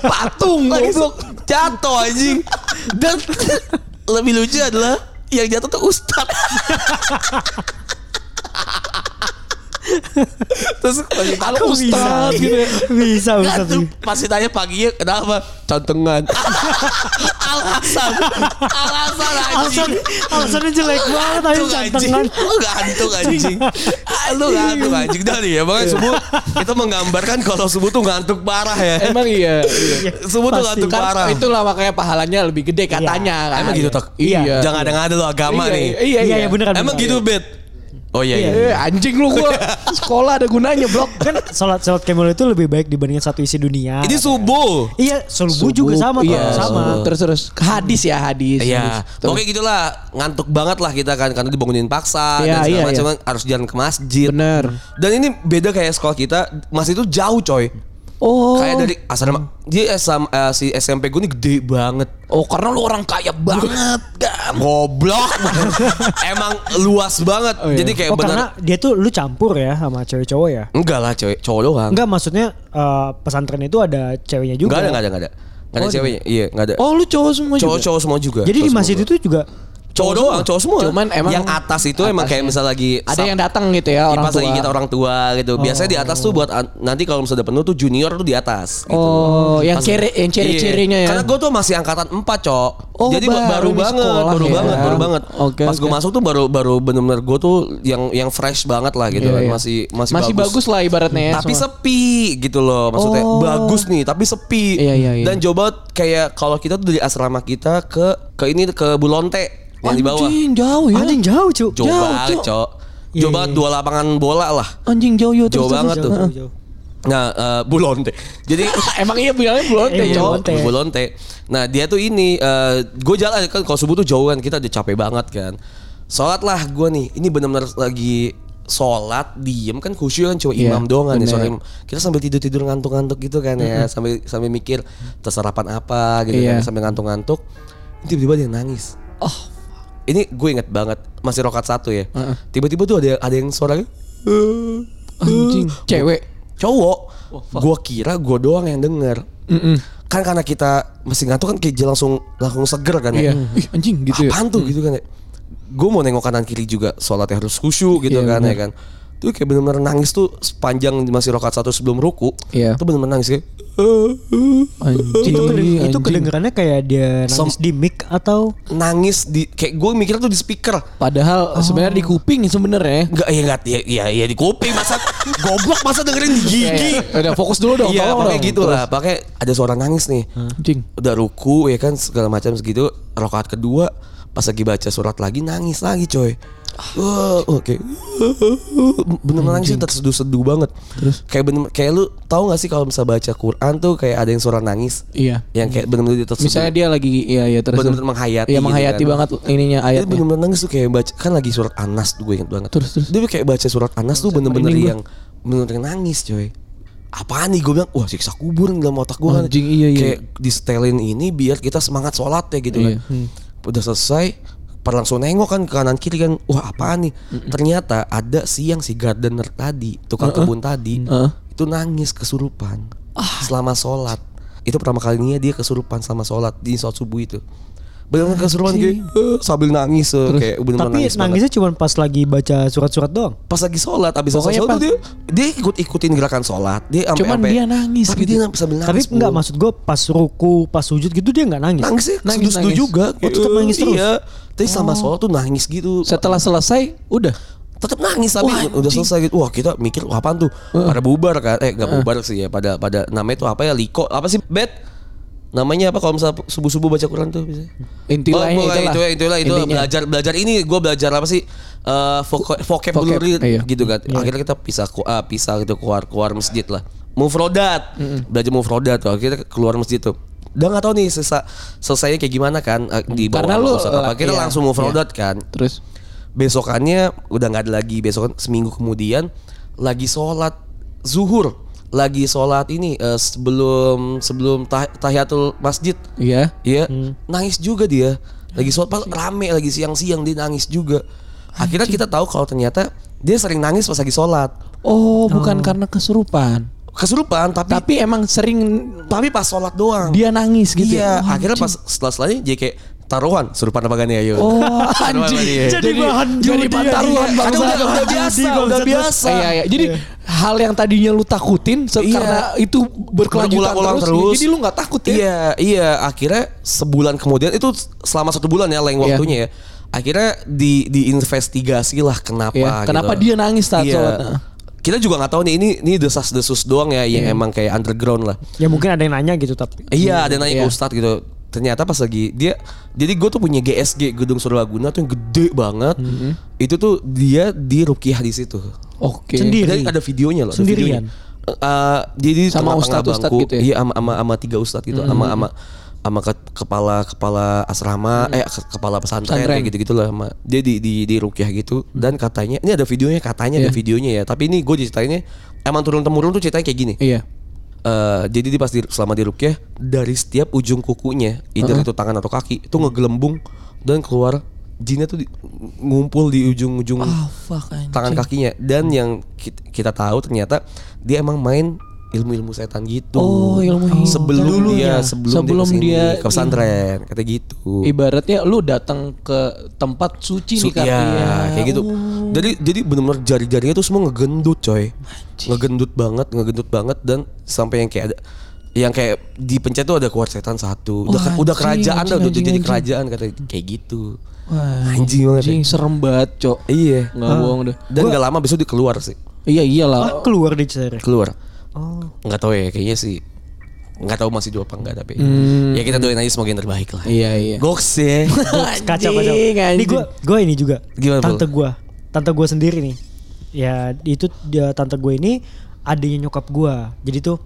[SPEAKER 1] patung lagi sholat- jatuh anjing dan lebih lucu adalah yang jatuh tuh ustad terus pagi kalau
[SPEAKER 3] Kok bisa
[SPEAKER 1] ustad
[SPEAKER 3] sih?
[SPEAKER 1] gitu ya.
[SPEAKER 3] Bisa
[SPEAKER 1] Kan
[SPEAKER 3] bisa.
[SPEAKER 1] tuh pasti tanya paginya kenapa? Contengan. alasan. Alasan
[SPEAKER 3] Alasan
[SPEAKER 1] anjing.
[SPEAKER 3] alasannya jelek banget aja
[SPEAKER 1] Gantung, anjing.
[SPEAKER 2] kan?
[SPEAKER 3] cantengan.
[SPEAKER 1] Lu gantung anjing. Ah, Lu gantung anjing dari ya. Makanya subuh itu menggambarkan kalau subuh tuh ngantuk parah ya.
[SPEAKER 2] Emang iya. iya.
[SPEAKER 1] Subuh tuh
[SPEAKER 3] Pasti.
[SPEAKER 1] ngantuk
[SPEAKER 2] Kan
[SPEAKER 1] parah. Iya.
[SPEAKER 2] itulah makanya pahalanya lebih gede katanya. kan.
[SPEAKER 1] Emang gitu tok.
[SPEAKER 2] Iya.
[SPEAKER 1] Jangan ada ngada lu agama
[SPEAKER 2] Iya,
[SPEAKER 1] nih.
[SPEAKER 2] Iya,
[SPEAKER 3] Iya
[SPEAKER 2] iya.
[SPEAKER 3] iya beneran.
[SPEAKER 1] Emang
[SPEAKER 3] beneran.
[SPEAKER 1] gitu bet. Oh iya iya.
[SPEAKER 2] Eh, anjing lu gua sekolah ada gunanya, Blok.
[SPEAKER 3] Kan sholat sholat kemul itu lebih baik dibandingin satu isi dunia.
[SPEAKER 1] Ini subuh.
[SPEAKER 3] Iya, subuh juga sama,
[SPEAKER 2] iya,
[SPEAKER 3] Tom, sama.
[SPEAKER 2] subuh. Terus terus hadis ya hadis.
[SPEAKER 1] Iya,
[SPEAKER 2] Terus.
[SPEAKER 1] oke gitulah ngantuk banget lah kita kan karena dibangunin paksa dan
[SPEAKER 2] Iya,
[SPEAKER 1] segala
[SPEAKER 2] iya,
[SPEAKER 1] macam
[SPEAKER 2] iya.
[SPEAKER 1] kan harus jalan ke masjid.
[SPEAKER 2] Bener.
[SPEAKER 1] Dan ini beda kayak sekolah kita, masih itu jauh coy.
[SPEAKER 2] Oh.
[SPEAKER 1] Kayak dari asrama dia SM, eh, si SMP gue ini gede banget.
[SPEAKER 2] Oh, karena lu orang kaya banget. kan? Gam.
[SPEAKER 1] Goblok. Emang luas banget.
[SPEAKER 2] Oh, iya.
[SPEAKER 1] Jadi kayak
[SPEAKER 3] Oh,
[SPEAKER 1] bener
[SPEAKER 3] karena dia tuh lu campur ya sama cewek cowok ya?
[SPEAKER 1] enggak lah coy, cowok doang.
[SPEAKER 3] Enggak, maksudnya eh, pesantren itu ada ceweknya juga. ya?
[SPEAKER 1] Enggak ada, enggak ada, enggak ada. Enggak ada
[SPEAKER 3] Oh,
[SPEAKER 1] ceweknya. Iya, enggak ada.
[SPEAKER 2] Oh, lu cowok semua juga.
[SPEAKER 1] Cowok-cowok semua juga.
[SPEAKER 3] Jadi di
[SPEAKER 1] Cowok semua
[SPEAKER 3] masjid
[SPEAKER 1] juga.
[SPEAKER 3] itu juga
[SPEAKER 1] cowok doang, cowok semua.
[SPEAKER 2] Cuman emang
[SPEAKER 1] yang atas itu emang kayak
[SPEAKER 2] atasnya.
[SPEAKER 1] misal lagi
[SPEAKER 2] Ada
[SPEAKER 1] sab-
[SPEAKER 2] yang datang gitu ya orang
[SPEAKER 1] pas lagi
[SPEAKER 2] tua.
[SPEAKER 1] kita orang tua gitu. Biasanya di atas tuh buat an- nanti kalau misalnya udah penuh tuh junior tuh di atas gitu.
[SPEAKER 2] Oh, yang
[SPEAKER 1] Pas-
[SPEAKER 2] ciri yang
[SPEAKER 1] Iya.
[SPEAKER 2] ciri-cirinya ya.
[SPEAKER 1] Karena gue tuh masih angkatan 4 cok.
[SPEAKER 2] Oh,
[SPEAKER 1] Jadi baru,
[SPEAKER 2] baru
[SPEAKER 1] baru
[SPEAKER 2] di
[SPEAKER 1] banget,
[SPEAKER 2] sekolah
[SPEAKER 1] baru
[SPEAKER 2] ya.
[SPEAKER 1] banget, baru banget.
[SPEAKER 2] Oke,
[SPEAKER 1] Pas gue
[SPEAKER 2] oke.
[SPEAKER 1] masuk tuh baru baru benar-benar gue tuh yang yang fresh banget lah gitu
[SPEAKER 2] Iya,
[SPEAKER 1] kan.
[SPEAKER 2] iya.
[SPEAKER 1] Masih masih,
[SPEAKER 2] masih bagus lah ibaratnya ya.
[SPEAKER 1] tapi
[SPEAKER 2] semua.
[SPEAKER 1] sepi gitu loh maksudnya
[SPEAKER 2] Oh.
[SPEAKER 1] bagus nih tapi sepi
[SPEAKER 2] Iya, iya, iya.
[SPEAKER 1] dan coba kayak kalau kita tuh dari asrama kita ke ke ini ke Bulonte yang di bawah
[SPEAKER 2] Anjing jauh ya.
[SPEAKER 3] anjing jauh, Cuk.
[SPEAKER 1] Jauh
[SPEAKER 2] Jauh,
[SPEAKER 1] banget,
[SPEAKER 2] Cok.
[SPEAKER 1] Cok.
[SPEAKER 3] Iya,
[SPEAKER 1] Jauh
[SPEAKER 3] iya,
[SPEAKER 1] banget
[SPEAKER 3] iya.
[SPEAKER 1] dua lapangan bola lah.
[SPEAKER 2] Anjing jauh ya.
[SPEAKER 1] Jauh banget tuh.
[SPEAKER 3] Jauh, jauh.
[SPEAKER 1] Nah, eh, Bulonte. Jadi
[SPEAKER 2] Emang iya bilangnya belum
[SPEAKER 3] Iya,
[SPEAKER 2] deh,
[SPEAKER 1] Iya,
[SPEAKER 2] cowok.
[SPEAKER 3] Bulonte.
[SPEAKER 1] Bulonte. Nah, dia tuh ini gue jalan kan kalau subuh tuh jauh kan kita udah capek banget kan. Sholat lah gue nih. Ini benar-benar lagi sholat diem kan khusyuk kan cuma
[SPEAKER 2] Iya,
[SPEAKER 1] imam doang kan ya
[SPEAKER 2] bener.
[SPEAKER 1] soalnya imam. kita sambil tidur tidur ngantuk ngantuk gitu kan ya sambil sambil mikir tersarapan apa gitu
[SPEAKER 2] Iya.
[SPEAKER 1] kan sambil ngantuk ngantuk tiba-tiba dia nangis
[SPEAKER 2] Oh,
[SPEAKER 1] ini gue inget banget masih rokat satu ya tiba-tiba tuh ada ada yang suaranya
[SPEAKER 2] anjing cewek.
[SPEAKER 1] cowok gue kira gue doang yang denger kan karena kita masih ngantuk kan kayak dia langsung langsung seger kan ya
[SPEAKER 2] Iya. Ih, anjing gitu ya.
[SPEAKER 1] apaan tuh gitu kan ya gue mau nengok kanan kiri juga sholatnya harus khusyuk gitu
[SPEAKER 2] Iya,
[SPEAKER 1] kan ya kan tuh kayak bener-bener nangis tuh sepanjang masih rokat satu sebelum ruku
[SPEAKER 2] Iya.
[SPEAKER 1] tuh bener-bener nangis kayak
[SPEAKER 2] Anjing.
[SPEAKER 3] Itu, keden- itu
[SPEAKER 2] anjing.
[SPEAKER 3] kedengerannya kayak dia nangis
[SPEAKER 1] Som-
[SPEAKER 3] di mic atau
[SPEAKER 1] nangis di kayak gue mikirnya tuh di speaker
[SPEAKER 2] Padahal sebenarnya di kuping sebenarnya.
[SPEAKER 1] Enggak, ya enggak, ya, ya, ya di kuping masa goblok masa dengerin di gigi.
[SPEAKER 2] Iya, iya. Udah fokus dulu dong.
[SPEAKER 1] Iya,
[SPEAKER 2] tolong
[SPEAKER 1] pakai
[SPEAKER 2] dong.
[SPEAKER 1] gitu lah, pakai ada suara nangis nih.
[SPEAKER 2] Anjing.
[SPEAKER 1] udah ruku ya kan segala macam segitu rakaat kedua Pas lagi baca surat lagi nangis lagi coy. Wah, oke. Bener nangis itu terseduh-seduh banget. Terus kayak bener kayak lu tahu gak sih kalau bisa baca Quran tuh kayak ada yang surat nangis
[SPEAKER 2] Iya.
[SPEAKER 1] yang kayak bener-bener dia terseduh.
[SPEAKER 2] Misalnya dia lagi iya iya terus
[SPEAKER 1] Bener-bener menghayati
[SPEAKER 2] Iya
[SPEAKER 1] gitu
[SPEAKER 2] menghayati
[SPEAKER 1] kan.
[SPEAKER 2] banget ininya
[SPEAKER 1] Dia
[SPEAKER 2] ayatnya.
[SPEAKER 1] bener-bener nangis tuh kayak baca kan lagi surat Anas tuh gue inget banget.
[SPEAKER 2] Terus, terus.
[SPEAKER 1] Dia kayak baca surat Anas tuh bener-bener
[SPEAKER 2] Merinding gue.
[SPEAKER 1] yang bener-bener nangis coy. Apaan nih gue bilang wah siksa kubur nih dalam otak gue kan.
[SPEAKER 2] Anjing, iya, iya.
[SPEAKER 1] Kayak disetelin ini biar kita semangat sholat ya gitu kan.
[SPEAKER 2] Iya.
[SPEAKER 1] Udah selesai pada langsung nengok kan ke kanan kiri kan wah apaan nih ternyata ada siang si gardener tadi tukang kebun tadi
[SPEAKER 2] Heeh. Hmm.
[SPEAKER 1] itu nangis kesurupan
[SPEAKER 2] Ah.
[SPEAKER 1] selama sholat itu pertama kalinya dia kesurupan selama sholat di sholat subuh itu benar kesurupan kayak "Eh," sambil nangis eh, kayak bener
[SPEAKER 3] Tapi nangisnya cuma pas lagi baca surat-surat doang.
[SPEAKER 1] pas lagi sholat abis sholat,
[SPEAKER 2] Pokoknya
[SPEAKER 1] sholat
[SPEAKER 2] pas-
[SPEAKER 1] tuh dia dia ikut ikutin gerakan sholat dia sampai
[SPEAKER 2] Cuman
[SPEAKER 1] sampai-
[SPEAKER 2] dia nangis
[SPEAKER 1] tapi
[SPEAKER 2] gitu.
[SPEAKER 1] dia sambil
[SPEAKER 3] Tapi
[SPEAKER 1] nangis
[SPEAKER 3] enggak
[SPEAKER 1] Bu.
[SPEAKER 3] maksud gue pas ruku, pas sujud gitu dia nggak nangis.
[SPEAKER 1] nangis sih nangis,
[SPEAKER 2] Nangis, nangis. Oh.
[SPEAKER 1] juga
[SPEAKER 3] Oh, tetep
[SPEAKER 1] Eh,
[SPEAKER 3] nangis terus?
[SPEAKER 1] iya tapi sama sholat tuh nangis gitu
[SPEAKER 2] Setelah selesai udah.
[SPEAKER 1] tetap nangis tapi
[SPEAKER 2] Wah,
[SPEAKER 1] udah selesai gitu wah kita mikir wah apaan tuh pada bubar kan eh nggak bubar sih ya pada pada namanya tuh apa ya liko apa sih bet namanya apa kalau misalnya subuh subuh baca Quran tuh bisa
[SPEAKER 2] Intilah
[SPEAKER 1] Oh, pokoknya
[SPEAKER 2] itulah.
[SPEAKER 1] itu ya, itu ya, itu
[SPEAKER 2] Intinya.
[SPEAKER 1] belajar belajar ini gue belajar apa sih Eh voka- vocabulary
[SPEAKER 2] iya.
[SPEAKER 1] gitu kan akhirnya kita pisah ku- ah, pisah gitu keluar keluar masjid lah mufrodat belajar mufrodat tuh akhirnya keluar masjid tuh udah nggak tahu nih sesa, selesainya kayak gimana kan eh, di bawah
[SPEAKER 2] Karena
[SPEAKER 1] sama
[SPEAKER 2] lu,
[SPEAKER 1] ustaz apa
[SPEAKER 2] eh,
[SPEAKER 1] kita
[SPEAKER 2] iya,
[SPEAKER 1] langsung mufrodat kan
[SPEAKER 2] Terus
[SPEAKER 1] besokannya udah nggak ada lagi besokan seminggu kemudian lagi sholat zuhur lagi sholat ini eh, sebelum sebelum tah- tahiyatul masjid
[SPEAKER 2] iya.
[SPEAKER 1] ya nangis juga dia lagi sholat pas rame lagi siang-siang dia nangis juga akhirnya kita tahu kalau ternyata dia sering nangis pas lagi sholat
[SPEAKER 2] Oh, bukan karena kesurupan.
[SPEAKER 1] kesurupan tapi tapi,
[SPEAKER 2] Tapi emang sering
[SPEAKER 1] pas sholat doang
[SPEAKER 2] dia nangis gitu.
[SPEAKER 1] iya
[SPEAKER 2] ya? Oh,
[SPEAKER 1] akhirnya pas setelah setelahnya dia kayak taruhan surupan apa gak nih ayo
[SPEAKER 2] Oh,
[SPEAKER 1] Taruhan apa
[SPEAKER 2] anjing.
[SPEAKER 1] nih, ayo?
[SPEAKER 3] Jadi bahan
[SPEAKER 2] jadi
[SPEAKER 3] judi,
[SPEAKER 2] bahan taruhan
[SPEAKER 1] Iya,
[SPEAKER 2] bangsa.
[SPEAKER 1] aduh, udah, udah biasa,
[SPEAKER 3] Jadi
[SPEAKER 1] udah
[SPEAKER 3] bangsat.
[SPEAKER 1] biasa.
[SPEAKER 2] Iya, iya. Jadi hal yang tadinya lu takutin se-
[SPEAKER 1] Iya.
[SPEAKER 2] karena itu berkelanjutan
[SPEAKER 1] Berulang-ulang
[SPEAKER 2] terus,
[SPEAKER 1] terus.
[SPEAKER 2] Jadi lu nggak takut ya?
[SPEAKER 1] Iya, iya. Akhirnya sebulan kemudian itu selama satu bulan ya leng
[SPEAKER 2] Iya.
[SPEAKER 1] waktunya ya. Akhirnya di diinvestigasi lah kenapa. gitu. Iya.
[SPEAKER 2] Iya, kenapa dia nangis saat sholat.
[SPEAKER 1] Kita juga nggak tahu nih ini ini desas desus doang ya yang emang kayak underground lah.
[SPEAKER 3] Ya mungkin ada yang nanya gitu tapi.
[SPEAKER 1] Iya, ada yang nanya
[SPEAKER 2] Iya. iya.
[SPEAKER 1] ke Ustadz gitu. Ternyata pas lagi dia jadi gue tuh punya GSG Gedung Surabaguna tuh yang gede banget.
[SPEAKER 2] Mm-hmm.
[SPEAKER 1] Itu tuh dia di rukiah di situ.
[SPEAKER 2] Oke.
[SPEAKER 3] Sendiri.
[SPEAKER 1] Dan ada videonya loh. ada
[SPEAKER 3] Sendirian?
[SPEAKER 1] videonya. Eh, jadi di
[SPEAKER 2] Sama
[SPEAKER 1] tengah-tengah
[SPEAKER 2] ustadz-ustadz
[SPEAKER 1] bangku.
[SPEAKER 2] gitu ya? Hmm.
[SPEAKER 1] Iya, sama sama sama tiga ustadz gitu, sama sama sama ke- kepala kepala asrama, eh ke- kepala pesantren,
[SPEAKER 2] Pesantren.
[SPEAKER 1] kayak gitu-gitu lah. sama- Dia di di di rukyah gitu dan katanya ini ada videonya, katanya ada
[SPEAKER 2] Iya.
[SPEAKER 1] videonya ya. Tapi ini gue ceritainnya emang turun temurun tuh ceritanya kayak gini.
[SPEAKER 2] Iya.
[SPEAKER 1] Eh, jadi dia pas di, selama di rukyah dari setiap ujung kukunya, either itu tangan atau kaki, itu ngegelembung dan keluar jinnya tuh di- ngumpul di ujung-ujung
[SPEAKER 2] Ah, fuck
[SPEAKER 1] tangan kakinya dan yang ki- kita tahu ternyata dia emang main ilmu-ilmu setan gitu.
[SPEAKER 2] Oh, ilmu hitam.
[SPEAKER 1] sebelum
[SPEAKER 2] Dulunya.
[SPEAKER 1] dia sebelum,
[SPEAKER 2] Sebelum
[SPEAKER 1] dia, kesini,
[SPEAKER 2] dia- iya.
[SPEAKER 1] ke pesantren kata gitu.
[SPEAKER 2] Ibaratnya lu datang ke tempat suci
[SPEAKER 1] Su-
[SPEAKER 2] nih kan.
[SPEAKER 1] ya,
[SPEAKER 2] Iya.
[SPEAKER 1] kayak gitu. Jadi jadi benar-benar jari-jarinya tuh semua ngegendut, coy. Ngegendut banget, ngegendut banget dan sampai yang kayak ada yang kayak dipencet tuh ada keluar setan satu. Udah
[SPEAKER 2] Oh,
[SPEAKER 1] udah
[SPEAKER 2] anjing,
[SPEAKER 1] kerajaan dah
[SPEAKER 2] anjing,
[SPEAKER 1] udah jadi
[SPEAKER 2] anjing,
[SPEAKER 1] kerajaan kata kayak gitu.
[SPEAKER 2] Wah,
[SPEAKER 1] Anjing banget. ya.
[SPEAKER 2] Anjing serem banget, Cok.
[SPEAKER 1] Iya.
[SPEAKER 2] Nggak bohong deh.
[SPEAKER 1] Dan gak lama besok dia keluar sih.
[SPEAKER 2] Iya, iyalah.
[SPEAKER 3] Ah, keluar di cerai.
[SPEAKER 1] Keluar.
[SPEAKER 3] Oh.
[SPEAKER 1] nggak tahu ya kayaknya sih nggak tahu masih dua apa enggak tapi ya kita doain aja semoga yang terbaik lah
[SPEAKER 2] Iya, Hmm. iya.
[SPEAKER 1] goks ya
[SPEAKER 3] kacau kacau.
[SPEAKER 2] Anjing,
[SPEAKER 3] Ini
[SPEAKER 2] anjing.
[SPEAKER 3] gue gue ini juga.
[SPEAKER 1] Gimana,
[SPEAKER 3] tante gue, tante gue sendiri nih. Ya itu dia tante gue ini adanya nyokap gue. Jadi tuh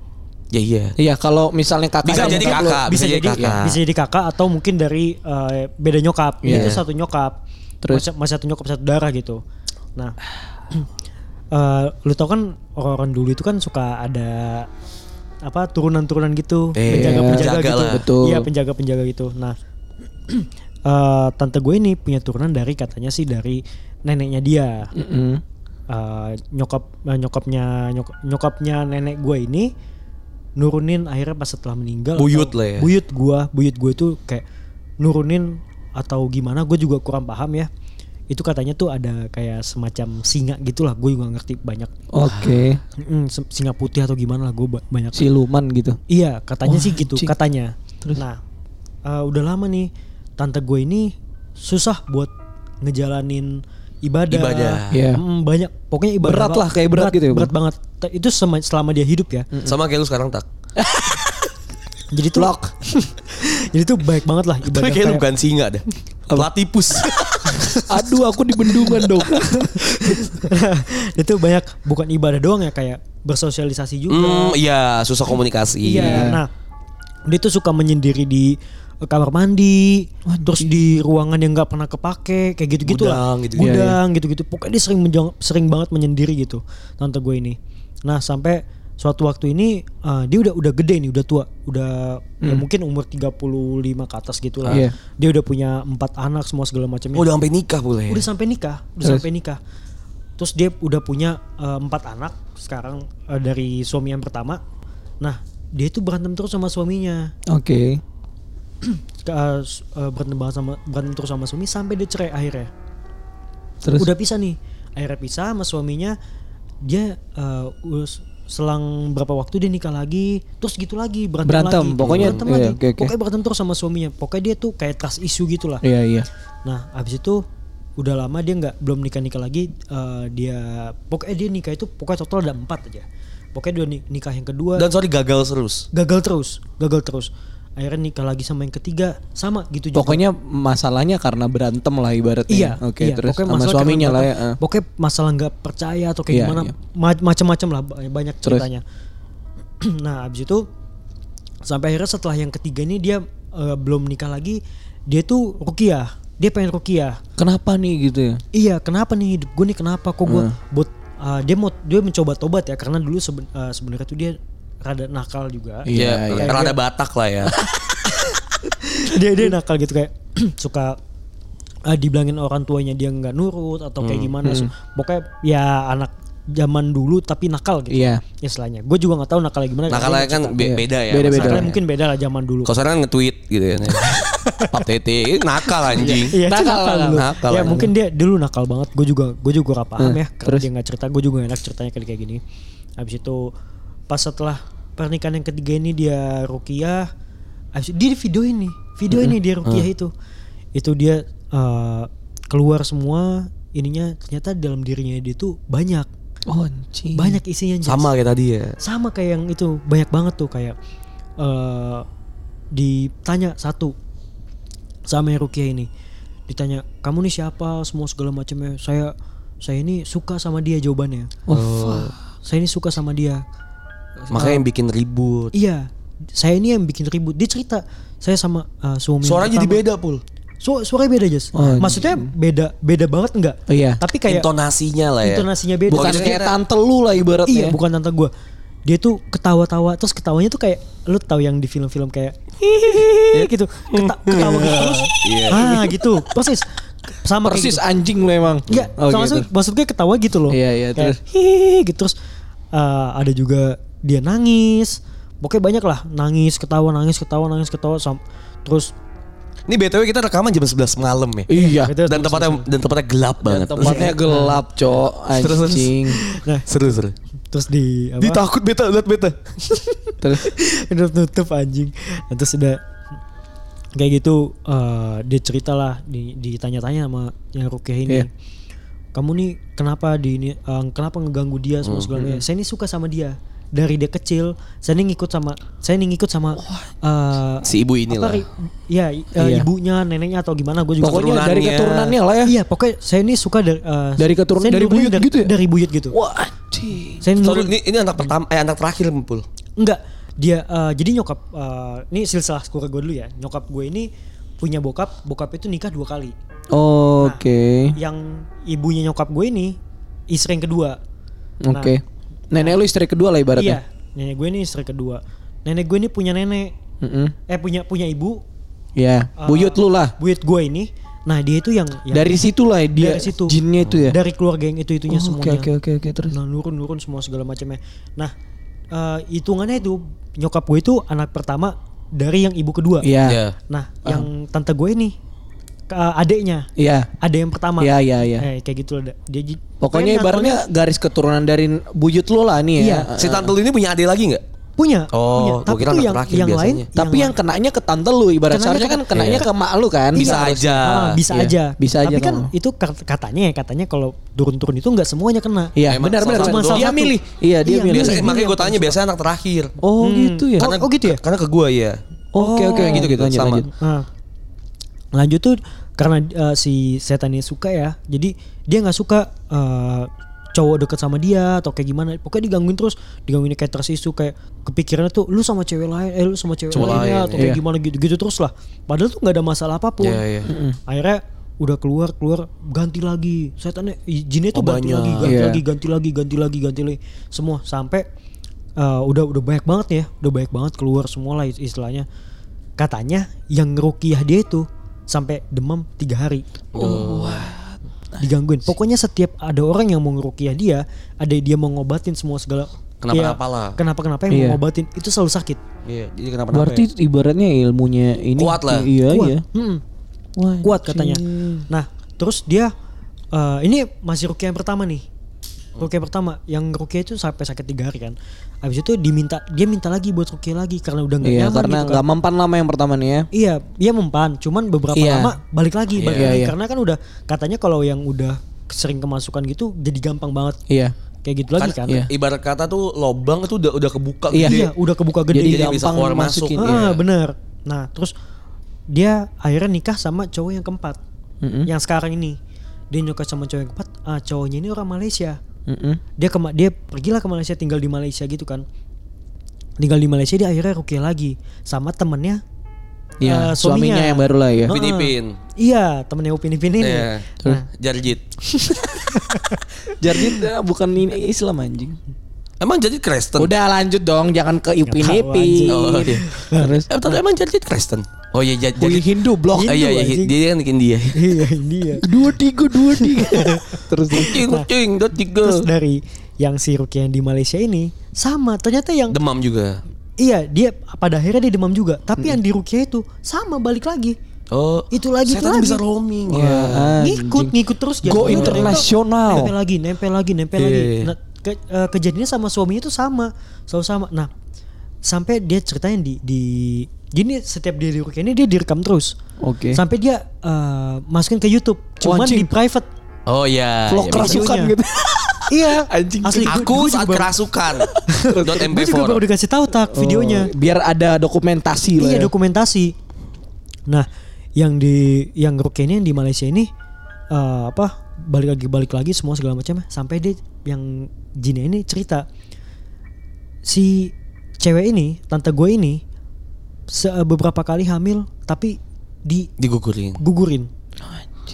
[SPEAKER 1] ya iya
[SPEAKER 2] Iya, kalau misalnya kakak
[SPEAKER 1] Bisa
[SPEAKER 2] yang
[SPEAKER 1] jadi
[SPEAKER 2] nyokap lu-
[SPEAKER 1] kakak.
[SPEAKER 3] bisa, jadi iya,
[SPEAKER 1] kakak.
[SPEAKER 3] bisa jadi kakak atau mungkin dari eh, beda nyokap.
[SPEAKER 1] Iya.
[SPEAKER 3] Itu satu nyokap.
[SPEAKER 2] Terus?
[SPEAKER 3] Masih, masih satu nyokap satu darah gitu. Nah, eh, lu tau kan orang-orang dulu itu kan suka ada apa turunan-turunan gitu,
[SPEAKER 1] Eh,
[SPEAKER 3] penjaga-penjaga
[SPEAKER 1] penjaga
[SPEAKER 3] gitu.
[SPEAKER 1] lah.
[SPEAKER 2] Betul.
[SPEAKER 3] Iya, penjaga-penjaga gitu. Nah, eh, tante gue ini punya turunan dari katanya sih dari neneknya dia.
[SPEAKER 2] Mm-mm.
[SPEAKER 3] Eh, nyokap eh, nyokapnya nyok- nyokapnya nenek gue ini nurunin akhirnya pas setelah meninggal
[SPEAKER 1] Buyut
[SPEAKER 3] atau-
[SPEAKER 1] lah ya.
[SPEAKER 3] buyut gue buyut gue itu kayak nurunin atau gimana gue juga kurang paham ya itu katanya tuh ada kayak semacam singa gitulah gue juga ngerti banyak
[SPEAKER 2] Oke.
[SPEAKER 3] Mm, se- singa putih atau gimana lah gue ba- banyak
[SPEAKER 2] Siluman gitu.
[SPEAKER 3] iya katanya
[SPEAKER 2] Wah,
[SPEAKER 3] sih gitu
[SPEAKER 2] anjing.
[SPEAKER 3] katanya nah eh, udah lama nih tante gue ini susah buat ngejalanin ibadah
[SPEAKER 1] Ibadah.
[SPEAKER 2] Iya.
[SPEAKER 3] Mm, banyak pokoknya ibadah
[SPEAKER 2] Berat lah, kayak berat gitu ya, Bang?
[SPEAKER 3] berat banget Te- itu sema- selama dia hidup ya
[SPEAKER 1] sama kayak lu sekarang tak
[SPEAKER 3] jadi tuh Jadi tuh baik banget lah
[SPEAKER 1] Tapi
[SPEAKER 3] ibadah
[SPEAKER 1] kayak lu
[SPEAKER 3] kayak-
[SPEAKER 1] bukan singa dah. Platipus.
[SPEAKER 2] Aduh aku di bendungan dong.
[SPEAKER 3] itu banyak bukan ibadah doang ya kayak bersosialisasi juga.
[SPEAKER 1] Hmm, iya, susah komunikasi.
[SPEAKER 3] Iya. Nah, dia tuh suka menyendiri di eh, kamar mandi, terus di ruangan yang nggak pernah kepake, kayak gitu-gitu Iya, lah.
[SPEAKER 1] Gudang gitu.
[SPEAKER 3] Gudang gitu-gitu. Pokoknya dia sering menjang- sering banget menyendiri gitu. Tante gue ini. Nah, sampai suatu waktu ini eh, dia udah udah gede nih, udah tua, udah ya mungkin umur 35 ke atas gitu lah.
[SPEAKER 2] Iya.
[SPEAKER 3] Dia udah punya empat anak semua segala macamnya.
[SPEAKER 1] Oh, udah sampai nikah boleh.
[SPEAKER 3] Udah sampai nikah, udah
[SPEAKER 2] Iya. Terus?
[SPEAKER 3] sampai nikah. Terus dia udah punya eh, empat anak sekarang eh, dari suami yang pertama. Nah, dia itu berantem terus sama suaminya.
[SPEAKER 2] Oke.
[SPEAKER 3] Ke- eh, s- eh, berantem banget sama berantem terus sama suami sampai dia cerai akhirnya.
[SPEAKER 2] Terus
[SPEAKER 3] Udah pisah nih. Akhirnya pisah sama suaminya. Dia eh, us- selang berapa waktu dia nikah lagi, terus gitu lagi berantem,
[SPEAKER 2] Berantem,
[SPEAKER 3] lagi.
[SPEAKER 2] pokoknya-
[SPEAKER 3] berantem
[SPEAKER 2] iya,
[SPEAKER 3] lagi.
[SPEAKER 2] oke, oke.
[SPEAKER 3] Pokoknya berantem terus sama suaminya. Pokoknya dia tuh kayak trust issue gitu lah.
[SPEAKER 2] iya iya.
[SPEAKER 3] Nah, abis itu udah lama dia nggak belum nikah nikah lagi. eh, dia pokoknya dia nikah itu pokoknya total ada empat aja. Pokoknya dia ni- nikah yang kedua
[SPEAKER 1] Dan sorry gagal terus.
[SPEAKER 3] gagal terus, gagal terus. Akhirnya nikah lagi sama yang ketiga sama gitu juga.
[SPEAKER 2] Pokoknya masalahnya karena berantem lah ibaratnya.
[SPEAKER 3] iya,
[SPEAKER 2] Oke,
[SPEAKER 3] iya.
[SPEAKER 2] terus sama
[SPEAKER 3] masalah
[SPEAKER 2] suaminya
[SPEAKER 3] karena
[SPEAKER 2] lah ya.
[SPEAKER 3] berantem.
[SPEAKER 2] eh.
[SPEAKER 3] Pokoknya masalah nggak percaya atau kayak
[SPEAKER 2] Iya,
[SPEAKER 3] gimana
[SPEAKER 2] iya.
[SPEAKER 3] ma- macam-macam lah ba- banyak
[SPEAKER 2] Terus?
[SPEAKER 3] ceritanya. nah, abis itu sampai akhirnya setelah yang ketiga ini dia eh, belum nikah lagi, dia tuh rukiah. Dia pengen rukiah.
[SPEAKER 2] Kenapa nih gitu ya?
[SPEAKER 3] iya kenapa nih hidup gue nih kenapa kok gue
[SPEAKER 2] Hmm.
[SPEAKER 3] buat uh, dia mau dia mencoba tobat ya karena dulu seben- uh, sebenarnya tuh dia rada nakal juga
[SPEAKER 2] Iya,
[SPEAKER 1] Iya,
[SPEAKER 2] iya.
[SPEAKER 1] karena ada Batak lah ya.
[SPEAKER 3] dia dia nakal gitu kayak suka uh, dibilangin orang tuanya dia nggak nurut atau
[SPEAKER 2] Hmm,
[SPEAKER 3] kayak gimana So, pokoknya ya anak zaman dulu tapi nakal gitu
[SPEAKER 2] Iya.
[SPEAKER 3] ya istilahnya gue juga nggak tahu nakalnya gimana
[SPEAKER 1] Nakalnya kan be-
[SPEAKER 2] Iya.
[SPEAKER 1] beda ya.
[SPEAKER 2] Beda-beda.
[SPEAKER 3] nakalnya
[SPEAKER 1] masalahnya.
[SPEAKER 3] mungkin beda lah zaman dulu
[SPEAKER 1] Kalau sekarang kan nge-tweet gitu ya. Pap tete, Ini nakal anjing.
[SPEAKER 3] Iya, itu
[SPEAKER 2] Nakal,
[SPEAKER 3] nakal
[SPEAKER 2] nakal.
[SPEAKER 3] dulu.
[SPEAKER 1] Nakal,
[SPEAKER 3] ya
[SPEAKER 1] nakal.
[SPEAKER 3] mungkin dia dulu nakal banget. Gue juga gue juga gak paham
[SPEAKER 2] Hmm,
[SPEAKER 3] ya. Karena dia nggak cerita, gue juga gak enak ceritanya kayak kayak gini. Habis itu pas setelah pernikahan yang ketiga ini dia rukiah. Habis itu, dia di video ini, video
[SPEAKER 1] Hmm.
[SPEAKER 3] ini dia rukiah itu. Itu dia eh, keluar semua ininya ternyata dalam dirinya dia tuh banyak
[SPEAKER 2] Oh, anjing.
[SPEAKER 3] banyak isinya Jas.
[SPEAKER 1] Sama kayak tadi ya.
[SPEAKER 3] sama kayak yang itu banyak banget tuh kayak eh ditanya satu sama yang Rukia ini ditanya kamu nih siapa semua segala macamnya saya saya ini suka sama dia jawabannya
[SPEAKER 2] Oh, fuck.
[SPEAKER 3] saya ini suka sama dia
[SPEAKER 1] Makanya yang bikin ribut.
[SPEAKER 3] iya saya ini yang bikin ribut dia cerita saya sama eh, suami
[SPEAKER 1] Suaranya jadi
[SPEAKER 3] pertama."
[SPEAKER 1] beda, Pul.
[SPEAKER 3] Su- suaranya beda Jas
[SPEAKER 2] Oh,
[SPEAKER 3] maksudnya beda beda banget enggak
[SPEAKER 2] Oh, iya.
[SPEAKER 3] tapi kayak
[SPEAKER 1] Intonasinya lah ya.
[SPEAKER 3] intonasinya beda
[SPEAKER 2] Bukan
[SPEAKER 1] Maksudnya
[SPEAKER 2] kayak
[SPEAKER 1] kita-
[SPEAKER 2] tante lu lah ibaratnya.
[SPEAKER 3] Iya, bukan tante gue. Dia tuh ketawa-tawa, terus ketawanya tuh kayak lu tahu yang di film-film kayak hihihi gitu, Keta- ketawa gitu terus.
[SPEAKER 1] Iya.
[SPEAKER 3] Ah, gitu. Persis. Sama kayak
[SPEAKER 2] Persis
[SPEAKER 3] gitu.
[SPEAKER 2] anjing lu emang.
[SPEAKER 3] Iya,
[SPEAKER 2] Oh,
[SPEAKER 3] sama
[SPEAKER 2] gitu.
[SPEAKER 3] maksud, maksud gue ketawa gitu loh.
[SPEAKER 2] Iya, iya, terus.
[SPEAKER 3] Kayak hihihi gitu terus eh, ada juga dia nangis. Pokoknya banyak lah, nangis, ketawa, nangis, ketawa, nangis, ketawa sam- terus
[SPEAKER 1] Ini BTW kita rekaman jam 11 malam ya.
[SPEAKER 2] Iya.
[SPEAKER 3] Gitu.
[SPEAKER 1] Dan tempatnya dan tempatnya gelap banget.
[SPEAKER 2] Tempatnya
[SPEAKER 3] Iya.
[SPEAKER 2] gelap, Cok.
[SPEAKER 1] Terus, terus.
[SPEAKER 2] Anjing.
[SPEAKER 3] nah
[SPEAKER 1] Seru seru.
[SPEAKER 3] terus di apa?
[SPEAKER 1] Ditakut beta lihat beta.
[SPEAKER 2] Terus
[SPEAKER 3] Nutup nutup anjing. Nah, Terus udah kayak gitu eh, dia cerita lah di- ditanya-tanya sama yang Rukiah ini.
[SPEAKER 2] Iya.
[SPEAKER 3] Kamu nih kenapa di ini eh, kenapa ngeganggu dia semua
[SPEAKER 2] Hmm,
[SPEAKER 3] segala macam. Saya ini suka sama dia dari dia kecil. Saya ini ngikut sama saya ini ngikut sama eh,
[SPEAKER 1] Si ibu
[SPEAKER 3] apa,
[SPEAKER 1] inilah.
[SPEAKER 3] ri- ya i-
[SPEAKER 2] Iya.
[SPEAKER 3] eh, ibunya, neneknya atau gimana gue juga
[SPEAKER 2] pokoknya
[SPEAKER 1] keturunannya.
[SPEAKER 2] dari keturunannya lah ya.
[SPEAKER 3] Iya, pokoknya saya ini suka dari eh,
[SPEAKER 2] Dari keturunan-
[SPEAKER 3] saya
[SPEAKER 2] dari
[SPEAKER 3] nurunin
[SPEAKER 2] buyut gitu ya?
[SPEAKER 3] Dari buyut gitu.
[SPEAKER 2] Wah, anjing.
[SPEAKER 3] Saya
[SPEAKER 1] Sorry, ini,
[SPEAKER 3] nurunin-
[SPEAKER 1] ini anak pertama eh anak terakhir Pul.
[SPEAKER 3] Enggak, dia eh, jadi nyokap eh, ini silsilah keluarga gue dulu ya. Nyokap gue ini punya bokap, bokap itu nikah dua kali.
[SPEAKER 2] Oke.
[SPEAKER 3] Yang ibunya nyokap gue ini istri yang kedua. Nah,
[SPEAKER 2] Oke. Nenek lu istri kedua lah
[SPEAKER 3] Iya,
[SPEAKER 2] ibaratnya.
[SPEAKER 3] nenek gue ini istri kedua. Nenek gue ini punya nenek
[SPEAKER 2] Mm-mm.
[SPEAKER 3] eh punya punya ibu
[SPEAKER 2] Iya.
[SPEAKER 3] eh,
[SPEAKER 2] Buyut lu lah.
[SPEAKER 3] Buyut gue ini. Nah, dia itu yang, yang
[SPEAKER 2] Dari situlah dia
[SPEAKER 3] dari situ.
[SPEAKER 2] jinnya itu ya.
[SPEAKER 3] Dari keluarga yang itu-itunya
[SPEAKER 2] Oh, Oke
[SPEAKER 3] semuanya.
[SPEAKER 2] oke oke oke terus.
[SPEAKER 3] Nah, nurun-nurun semua segala macamnya. Nah, eh, hitungannya itu nyokap gue itu anak pertama dari yang ibu kedua.
[SPEAKER 1] Iya.
[SPEAKER 2] Iya.
[SPEAKER 3] Nah, yang tante gue ini ke adeknya,
[SPEAKER 2] Iya.
[SPEAKER 3] ada yang pertama.
[SPEAKER 2] Iya iya iya.
[SPEAKER 3] Eh, kayak gitu lah. Dia ji-
[SPEAKER 2] Pokoknya
[SPEAKER 3] nakalnya
[SPEAKER 2] ibaratnya garis keturunan dari buyut lu lah nih ya.
[SPEAKER 3] Iya.
[SPEAKER 2] Eh,
[SPEAKER 1] Si tante lu ini punya adik lagi nggak?
[SPEAKER 3] punya, punya.
[SPEAKER 1] Oh, gua kira anak
[SPEAKER 3] tuh yang
[SPEAKER 1] terakhir
[SPEAKER 3] yang lain,
[SPEAKER 1] biasanya.
[SPEAKER 2] Tapi yang kenanya ke tante lu ibarat
[SPEAKER 3] Kenanya
[SPEAKER 2] seharusnya kan
[SPEAKER 3] ke-
[SPEAKER 2] kenanya
[SPEAKER 1] Iya.
[SPEAKER 2] ke mak lu kan.
[SPEAKER 1] Bisa
[SPEAKER 2] Harus-
[SPEAKER 1] aja.
[SPEAKER 3] Ah, bisa
[SPEAKER 2] Iya,
[SPEAKER 3] aja.
[SPEAKER 2] bisa aja
[SPEAKER 3] Tapi kan
[SPEAKER 2] kalau-
[SPEAKER 3] itu kat- katanya ya, katanya kalau turun-turun itu nggak semuanya kena.
[SPEAKER 2] Iya,
[SPEAKER 1] Emang
[SPEAKER 2] benar benar.
[SPEAKER 1] salah
[SPEAKER 2] benar.
[SPEAKER 1] satu
[SPEAKER 2] Dia
[SPEAKER 3] doang.
[SPEAKER 2] milih. Iya, dia
[SPEAKER 3] Iya,
[SPEAKER 2] milih.
[SPEAKER 3] biasa.
[SPEAKER 1] Biasanya
[SPEAKER 3] Ini
[SPEAKER 1] makanya
[SPEAKER 3] yang
[SPEAKER 1] Hmm. gue tanya biasanya anak terakhir.
[SPEAKER 2] Oh, gitu ya.
[SPEAKER 3] Hmm. Oh, gitu ya?
[SPEAKER 1] Karena ke gue ya.
[SPEAKER 2] Oke
[SPEAKER 3] Oh.
[SPEAKER 2] oke gitu,
[SPEAKER 1] Kayak gitu-gitu,
[SPEAKER 2] Lanjut,
[SPEAKER 1] sama.
[SPEAKER 2] lanjut.
[SPEAKER 3] Nah, lanjut tuh karena eh, si setan ini suka ya. Jadi dia nggak suka eh, cowok deket sama dia atau kayak gimana. Pokoknya digangguin terus, digangguin kayak tersisu kayak kepikirannya tuh lu sama cewek lain, eh lu sama cewek
[SPEAKER 1] Cowok
[SPEAKER 3] lain
[SPEAKER 1] lain,
[SPEAKER 3] ya, atau kayak
[SPEAKER 2] iya.
[SPEAKER 3] gimana gitu, gitu terus lah. Padahal tuh nggak ada masalah apapun.
[SPEAKER 1] Iya, iya.
[SPEAKER 3] Akhirnya udah keluar keluar ganti lagi setannya jinnya tuh
[SPEAKER 1] Oh,
[SPEAKER 3] ganti
[SPEAKER 1] banyak.
[SPEAKER 3] lagi ganti
[SPEAKER 2] Iya.
[SPEAKER 3] lagi ganti lagi ganti lagi ganti lagi semua sampai eh, udah udah banyak banget ya udah banyak banget keluar semua lah istilahnya katanya yang rukiah dia itu sampai demam tiga hari
[SPEAKER 1] Oh.
[SPEAKER 3] digangguin pokoknya setiap ada orang yang mau ngerukiah dia ada dia mau ngobatin semua segala
[SPEAKER 1] Kenapa-napa lah.
[SPEAKER 3] kenapa kenapa yang
[SPEAKER 2] Iya.
[SPEAKER 3] mau ngobatin itu selalu sakit
[SPEAKER 1] Iya, jadi kenapa
[SPEAKER 2] Berarti ibaratnya ilmunya ini
[SPEAKER 1] Kuat lah.
[SPEAKER 2] Iya
[SPEAKER 3] Kuat.
[SPEAKER 2] iya.
[SPEAKER 3] Mm-mm.
[SPEAKER 2] Wah,
[SPEAKER 3] kuat katanya. Nah, terus dia eh, ini masih rukiah yang pertama nih. Rukiah pertama yang rukiah itu sampai sakit tiga hari kan. Habis itu diminta dia minta lagi buat rukiah lagi karena udah nggak
[SPEAKER 2] Iya
[SPEAKER 3] nyaman
[SPEAKER 2] karena
[SPEAKER 3] gitu kan.
[SPEAKER 2] nggak mempan lama yang pertama nih ya.
[SPEAKER 3] Iya, dia mempan, cuman beberapa
[SPEAKER 2] Iya.
[SPEAKER 3] lama balik lagi, balik
[SPEAKER 2] Iya,
[SPEAKER 3] lagi.
[SPEAKER 2] iya.
[SPEAKER 3] karena kan udah katanya kalau yang udah sering kemasukan gitu jadi gampang banget
[SPEAKER 2] Iya.
[SPEAKER 3] kayak gitu lagi kan.
[SPEAKER 2] iya.
[SPEAKER 1] Ibarat kata tuh lobang tuh udah udah kebuka
[SPEAKER 2] Iya.
[SPEAKER 1] gede.
[SPEAKER 3] Iya, udah kebuka gede.
[SPEAKER 2] Jadi
[SPEAKER 1] Jadi bisa
[SPEAKER 2] gampang
[SPEAKER 1] keluar masuk.
[SPEAKER 2] masukin.
[SPEAKER 1] Ah.
[SPEAKER 2] Iya.
[SPEAKER 3] Ah, bener. Nah, terus dia akhirnya nikah sama cowok yang keempat.
[SPEAKER 2] Mm-mm.
[SPEAKER 3] Yang sekarang ini. Dia nikah sama cowok yang keempat, ah, cowoknya ini orang Malaysia.
[SPEAKER 2] Mm-mm.
[SPEAKER 3] Dia ke dia pergilah ke Malaysia tinggal di Malaysia gitu kan. Tinggal di Malaysia dia akhirnya rukiah lagi sama temennya
[SPEAKER 2] Iya,
[SPEAKER 3] eh,
[SPEAKER 2] suaminya yang baru lah ya.
[SPEAKER 3] Ah,
[SPEAKER 1] Upin Ipin.
[SPEAKER 3] Iya, temennya Upin Ipin ini.
[SPEAKER 1] Iya.
[SPEAKER 3] Nah,
[SPEAKER 1] Jarjit.
[SPEAKER 2] Jadi eh, bukan ini Islam anjing.
[SPEAKER 1] Emang Jarjit Kristen?
[SPEAKER 2] Udah lanjut dong, jangan ke Upin Ipin.
[SPEAKER 3] tahu,
[SPEAKER 1] anjing. Oh, iya.
[SPEAKER 2] Terus
[SPEAKER 1] Eh, bentar, emang Jarjit Kristen? Oh iya, Jar-
[SPEAKER 2] Hui
[SPEAKER 1] Jarjit.
[SPEAKER 2] Hindu blok.
[SPEAKER 1] Ah, iya, iya,
[SPEAKER 3] anjing.
[SPEAKER 1] dia kan India.
[SPEAKER 3] iya ini ya.
[SPEAKER 2] Dua tiga dua tiga. Terus
[SPEAKER 1] Kucing, kucing, dua, tiga.
[SPEAKER 3] Nah. Terus dari yang si rukiah yang di Malaysia ini sama ternyata yang
[SPEAKER 1] Demam juga.
[SPEAKER 3] Iya, dia pada akhirnya dia demam juga. Tapi
[SPEAKER 2] Hmm.
[SPEAKER 3] yang dirukia itu sama balik lagi.
[SPEAKER 1] Oh,
[SPEAKER 3] Itu lagi, itu
[SPEAKER 1] setan
[SPEAKER 3] lagi. Iya.
[SPEAKER 1] bisa roaming.
[SPEAKER 2] Wah,
[SPEAKER 3] ngikut,
[SPEAKER 2] anjing.
[SPEAKER 3] ngikut terus.
[SPEAKER 2] Go
[SPEAKER 3] jadinya ternyata
[SPEAKER 2] internasional.
[SPEAKER 3] Nempel lagi, nempel lagi, nempel
[SPEAKER 1] Iya,
[SPEAKER 3] lagi.
[SPEAKER 1] iya, iya.
[SPEAKER 3] Nah, ke- eh, kejadiannya sama suaminya itu sama, selalu sama. Nah, sampai dia ceritanya di di gini setiap dia dirukia ini dia direkam terus.
[SPEAKER 2] Oke.
[SPEAKER 3] Sampai dia eh, masukin ke YouTube, cuman
[SPEAKER 2] anjing.
[SPEAKER 3] di private.
[SPEAKER 1] Oh iya. iya,
[SPEAKER 2] Vlog
[SPEAKER 3] keras.
[SPEAKER 2] kerasukan
[SPEAKER 3] videonya.
[SPEAKER 2] gitu.
[SPEAKER 3] Iya,
[SPEAKER 2] Anjing.
[SPEAKER 3] asli. Gua-
[SPEAKER 1] Aku
[SPEAKER 3] gua juga
[SPEAKER 1] saat
[SPEAKER 3] baru-
[SPEAKER 1] kerasukan. Dot
[SPEAKER 3] Gua juga baru
[SPEAKER 1] MP4.
[SPEAKER 3] dikasih tahu tak videonya.
[SPEAKER 2] Oh, biar ada dokumentasi lah.
[SPEAKER 3] Iya
[SPEAKER 2] ya.
[SPEAKER 3] dokumentasi. Nah, yang di yang Rukia ini yang di Malaysia ini eh, apa balik lagi balik lagi semua segala macam sampai dia yang jinnya ini cerita si cewek ini tante gue ini se- beberapa kali hamil tapi
[SPEAKER 1] Digugurin.
[SPEAKER 3] digugurin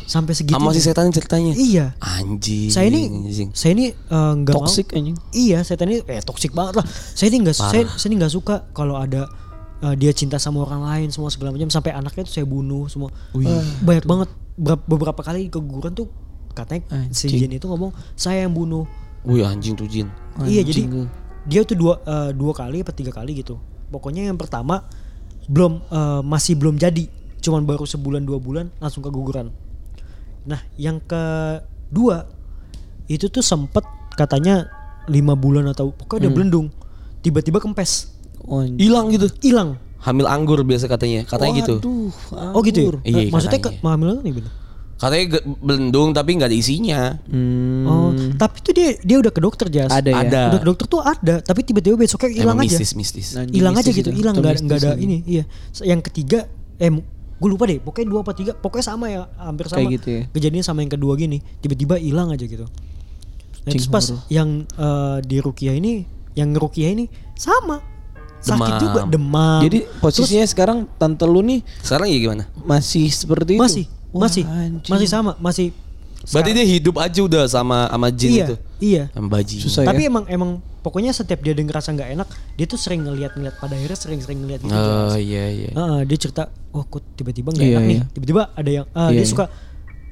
[SPEAKER 3] sampai segitu
[SPEAKER 1] Sama si setan ceritanya.
[SPEAKER 3] iya
[SPEAKER 1] Anjing.
[SPEAKER 3] Gitu saya ini
[SPEAKER 1] anjing.
[SPEAKER 3] saya ini eh, nggak mau
[SPEAKER 2] Toxic anjing.
[SPEAKER 3] Iya, setan ini eh toksik banget lah. Saya ini nggak saya, saya ini nggak suka kalau ada eh, dia cinta sama orang lain semua segala macam sampai anaknya tuh saya bunuh semua. Eh, banyak banget Berap- beberapa kali keguguran tuh katanya si
[SPEAKER 2] Anjing.
[SPEAKER 3] Jin itu ngomong saya yang bunuh.
[SPEAKER 1] Wih, anjing tuh jin.
[SPEAKER 3] Iya, jadi
[SPEAKER 2] Anjing lu.
[SPEAKER 3] dia tuh dua eh, dua kali apa tiga kali gitu. Pokoknya yang pertama belum eh, masih belum jadi, cuman baru sebulan dua bulan langsung keguguran. Nah, yang kedua itu tuh sempet katanya lima bulan atau pokoknya udah belendung, tiba-tiba kempes,
[SPEAKER 2] Oh, anjing.
[SPEAKER 1] Hilang Hmm. gitu.
[SPEAKER 3] hilang.
[SPEAKER 1] Hamil anggur biasa katanya. Katanya gitu.
[SPEAKER 2] Waduh,
[SPEAKER 3] Oh gitu.
[SPEAKER 2] anggur.
[SPEAKER 3] Ya? Eh,
[SPEAKER 1] Iya,
[SPEAKER 3] maksudnya
[SPEAKER 1] katanya.
[SPEAKER 3] ke, hamil nih bener.
[SPEAKER 1] Katanya ge- belendung tapi nggak ada isinya.
[SPEAKER 2] Hmm,
[SPEAKER 3] Oh, tapi tuh dia dia udah ke dokter jas.
[SPEAKER 2] ada ya.
[SPEAKER 1] Ada.
[SPEAKER 3] Udah ke dokter tuh ada, tapi tiba-tiba besoknya hilang
[SPEAKER 1] Emang
[SPEAKER 3] aja.
[SPEAKER 1] mistis, mistis.
[SPEAKER 2] Anjing
[SPEAKER 3] hilang aja
[SPEAKER 2] mistis
[SPEAKER 3] gitu
[SPEAKER 2] itu.
[SPEAKER 3] hilang
[SPEAKER 2] Atau
[SPEAKER 3] nggak ada-
[SPEAKER 2] mistis
[SPEAKER 3] nggak ada
[SPEAKER 2] lagi.
[SPEAKER 3] ini iya yang ketiga eh gue lupa deh pokoknya dua apa tiga pokoknya sama ya hampir sama
[SPEAKER 2] Kayak gitu ya.
[SPEAKER 3] kejadiannya sama yang kedua gini tiba-tiba hilang aja gitu nah,
[SPEAKER 2] Cing
[SPEAKER 3] terus pas
[SPEAKER 2] horor.
[SPEAKER 3] yang eh, di Rukia ini yang Rukia ini sama sakit
[SPEAKER 1] Demam.
[SPEAKER 3] juga demam
[SPEAKER 2] Jadi posisinya sekarang tante lu nih
[SPEAKER 1] Sekarang ya gimana?
[SPEAKER 2] masih seperti itu.
[SPEAKER 3] masih
[SPEAKER 2] Wah,
[SPEAKER 3] masih
[SPEAKER 2] anjing.
[SPEAKER 3] masih sama masih
[SPEAKER 1] Berarti dia hidup aja udah sama sama jin
[SPEAKER 3] iya
[SPEAKER 1] itu.
[SPEAKER 3] iya
[SPEAKER 1] Sama bajingan.
[SPEAKER 2] Susah. ya?
[SPEAKER 3] tapi emang emang pokoknya setiap dia ada ngerasa nggak enak dia tuh sering ngeliat-ngeliat pada akhirnya sering-sering ngeliat gitu
[SPEAKER 1] Oh iya iya.
[SPEAKER 3] Heeh, Ah, dia cerita, wah kok tiba-tiba nggak
[SPEAKER 2] Iya,
[SPEAKER 3] enak nih.
[SPEAKER 2] iya.
[SPEAKER 3] Tiba-tiba ada yang
[SPEAKER 2] Iya,
[SPEAKER 3] ah, dia
[SPEAKER 2] iya.
[SPEAKER 3] suka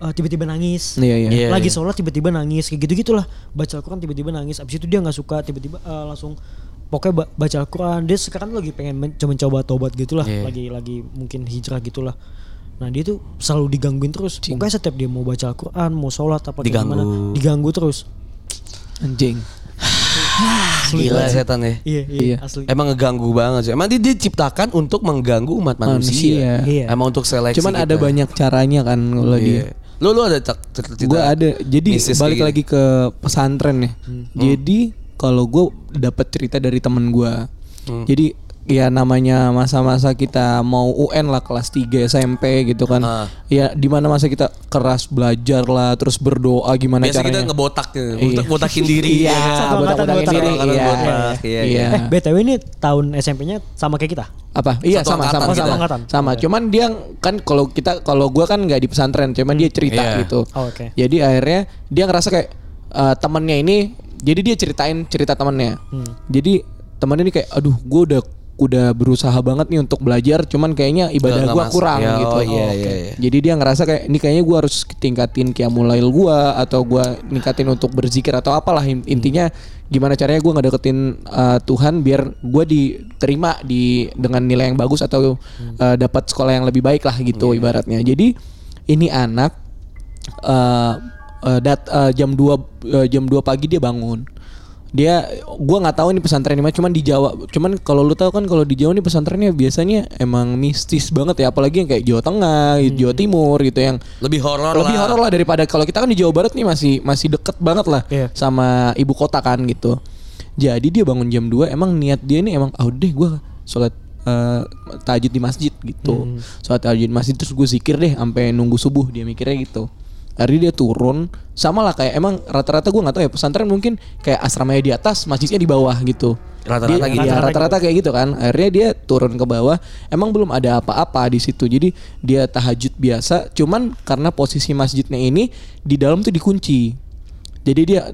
[SPEAKER 3] ah, tiba-tiba nangis.
[SPEAKER 2] Iya, iya.
[SPEAKER 1] Iya,
[SPEAKER 3] Lagi
[SPEAKER 1] iya.
[SPEAKER 3] sholat tiba-tiba nangis kayak gitu gitulah. Baca Al-Qur'an tiba-tiba nangis. Abis itu dia nggak suka tiba-tiba ah, langsung pokoknya ba- baca Al-Qur'an. Dia sekarang lagi pengen men- cuma coba tobat gitulah.
[SPEAKER 1] Iya.
[SPEAKER 3] Lagi lagi mungkin hijrah gitulah. Nah dia tuh selalu digangguin terus. Pokoknya setiap dia mau baca Al-Quran, mau sholat apa kayak
[SPEAKER 1] Diganggu.
[SPEAKER 3] gimana, diganggu terus.
[SPEAKER 2] anjing.
[SPEAKER 3] Sulit
[SPEAKER 1] Gila
[SPEAKER 3] banget.
[SPEAKER 1] setan ya.
[SPEAKER 3] Iya, iya,
[SPEAKER 2] Iya.
[SPEAKER 3] asli.
[SPEAKER 1] Emang ngeganggu banget sih. Emang dia diciptakan untuk mengganggu umat manusia.
[SPEAKER 2] Manusia.
[SPEAKER 3] Iya.
[SPEAKER 1] Emang untuk seleksi.
[SPEAKER 2] Cuman ada
[SPEAKER 1] kita.
[SPEAKER 2] banyak caranya kan kalau dia.
[SPEAKER 1] gitu. Iya. Lu lu ada cak- cerita?
[SPEAKER 2] Gue ada. Jadi
[SPEAKER 1] mistis
[SPEAKER 2] balik
[SPEAKER 1] kayak
[SPEAKER 2] lagi ke pesantren ya. Jadi kalau gue dapat cerita dari temen gue. Jadi ya namanya masa-masa kita mau UN lah kelas 3 SMP gitu kan.
[SPEAKER 1] Ah.
[SPEAKER 2] Ya di mana masa kita keras belajar lah terus berdoa gimana
[SPEAKER 1] Biasa kita
[SPEAKER 2] caranya.
[SPEAKER 1] ngebotak,
[SPEAKER 2] Iya.
[SPEAKER 1] botak botakin diri. ya kan?
[SPEAKER 2] Iya,
[SPEAKER 3] Satu angkatan
[SPEAKER 2] botak-botakin
[SPEAKER 3] botak.
[SPEAKER 2] diri.
[SPEAKER 1] Satu angkatan
[SPEAKER 2] Iya.
[SPEAKER 1] botak, iya,
[SPEAKER 2] Iya.
[SPEAKER 3] Eh, BTW ini tahun SMP-nya sama kayak kita.
[SPEAKER 2] apa iya
[SPEAKER 1] Satu angkatan gitu ya? Iya.
[SPEAKER 2] sama sama
[SPEAKER 1] kita.
[SPEAKER 2] sama
[SPEAKER 1] Satu
[SPEAKER 3] angkatan.
[SPEAKER 2] sama cuman dia kan kalau kita kalau gua kan nggak di pesantren cuman dia cerita
[SPEAKER 1] Iya.
[SPEAKER 2] gitu
[SPEAKER 3] Oh, oke.
[SPEAKER 2] jadi akhirnya dia ngerasa kayak eh, temannya ini jadi dia ceritain cerita temannya
[SPEAKER 1] Hmm.
[SPEAKER 2] jadi temannya ini kayak aduh gua udah udah berusaha banget nih untuk belajar cuman kayaknya ibadah
[SPEAKER 1] Nggak
[SPEAKER 2] gua
[SPEAKER 1] masuk.
[SPEAKER 2] kurang
[SPEAKER 1] Ya,
[SPEAKER 2] gitu
[SPEAKER 1] oh, iya, iya, iya.
[SPEAKER 2] jadi dia ngerasa kayak ini kayaknya gua harus tingkatin kiamulail gua atau gua ningkatin untuk berzikir atau apalah In-
[SPEAKER 1] Hmm.
[SPEAKER 2] intinya gimana caranya gua ngedeketin uh, Tuhan biar gua diterima di dengan nilai yang bagus atau
[SPEAKER 1] Hmm.
[SPEAKER 2] uh, dapat sekolah yang lebih baik lah gitu
[SPEAKER 1] Iya.
[SPEAKER 2] ibaratnya. Jadi ini anak uh, uh, dat- uh, jam 2 uh, jam 2 pagi dia bangun. Dia gua nggak tahu ini pesantren di mana cuman di Jawa. Cuman kalau lu tahu kan kalau di Jawa nih pesantrennya biasanya emang mistis banget ya apalagi yang kayak Jawa Tengah, Jawa Timur gitu yang
[SPEAKER 1] Lebih horor lah.
[SPEAKER 2] lebih horor lah daripada kalau kita kan di Jawa Barat nih masih masih deket banget lah
[SPEAKER 3] Iya.
[SPEAKER 2] sama ibu kota kan gitu. Jadi dia bangun jam 2 emang niat dia nih emang ah udah deh gua sholat eh, tahajud di masjid gitu.
[SPEAKER 1] Hmm.
[SPEAKER 2] Sholat tahajud di masjid terus gue zikir deh sampai nunggu subuh dia mikirnya gitu. Akhirnya dia turun sama lah kayak emang rata-rata gua nggak tahu ya pesantren mungkin kayak asramanya di atas masjidnya di bawah gitu.
[SPEAKER 1] Rata-rata
[SPEAKER 2] Dia-
[SPEAKER 1] gitu.
[SPEAKER 2] iya, rata-rata kayak gitu kan. Akhirnya dia turun ke bawah. Emang belum ada apa-apa di situ. Jadi dia tahajud biasa. Cuman karena posisi masjidnya ini di dalam tuh dikunci. Jadi dia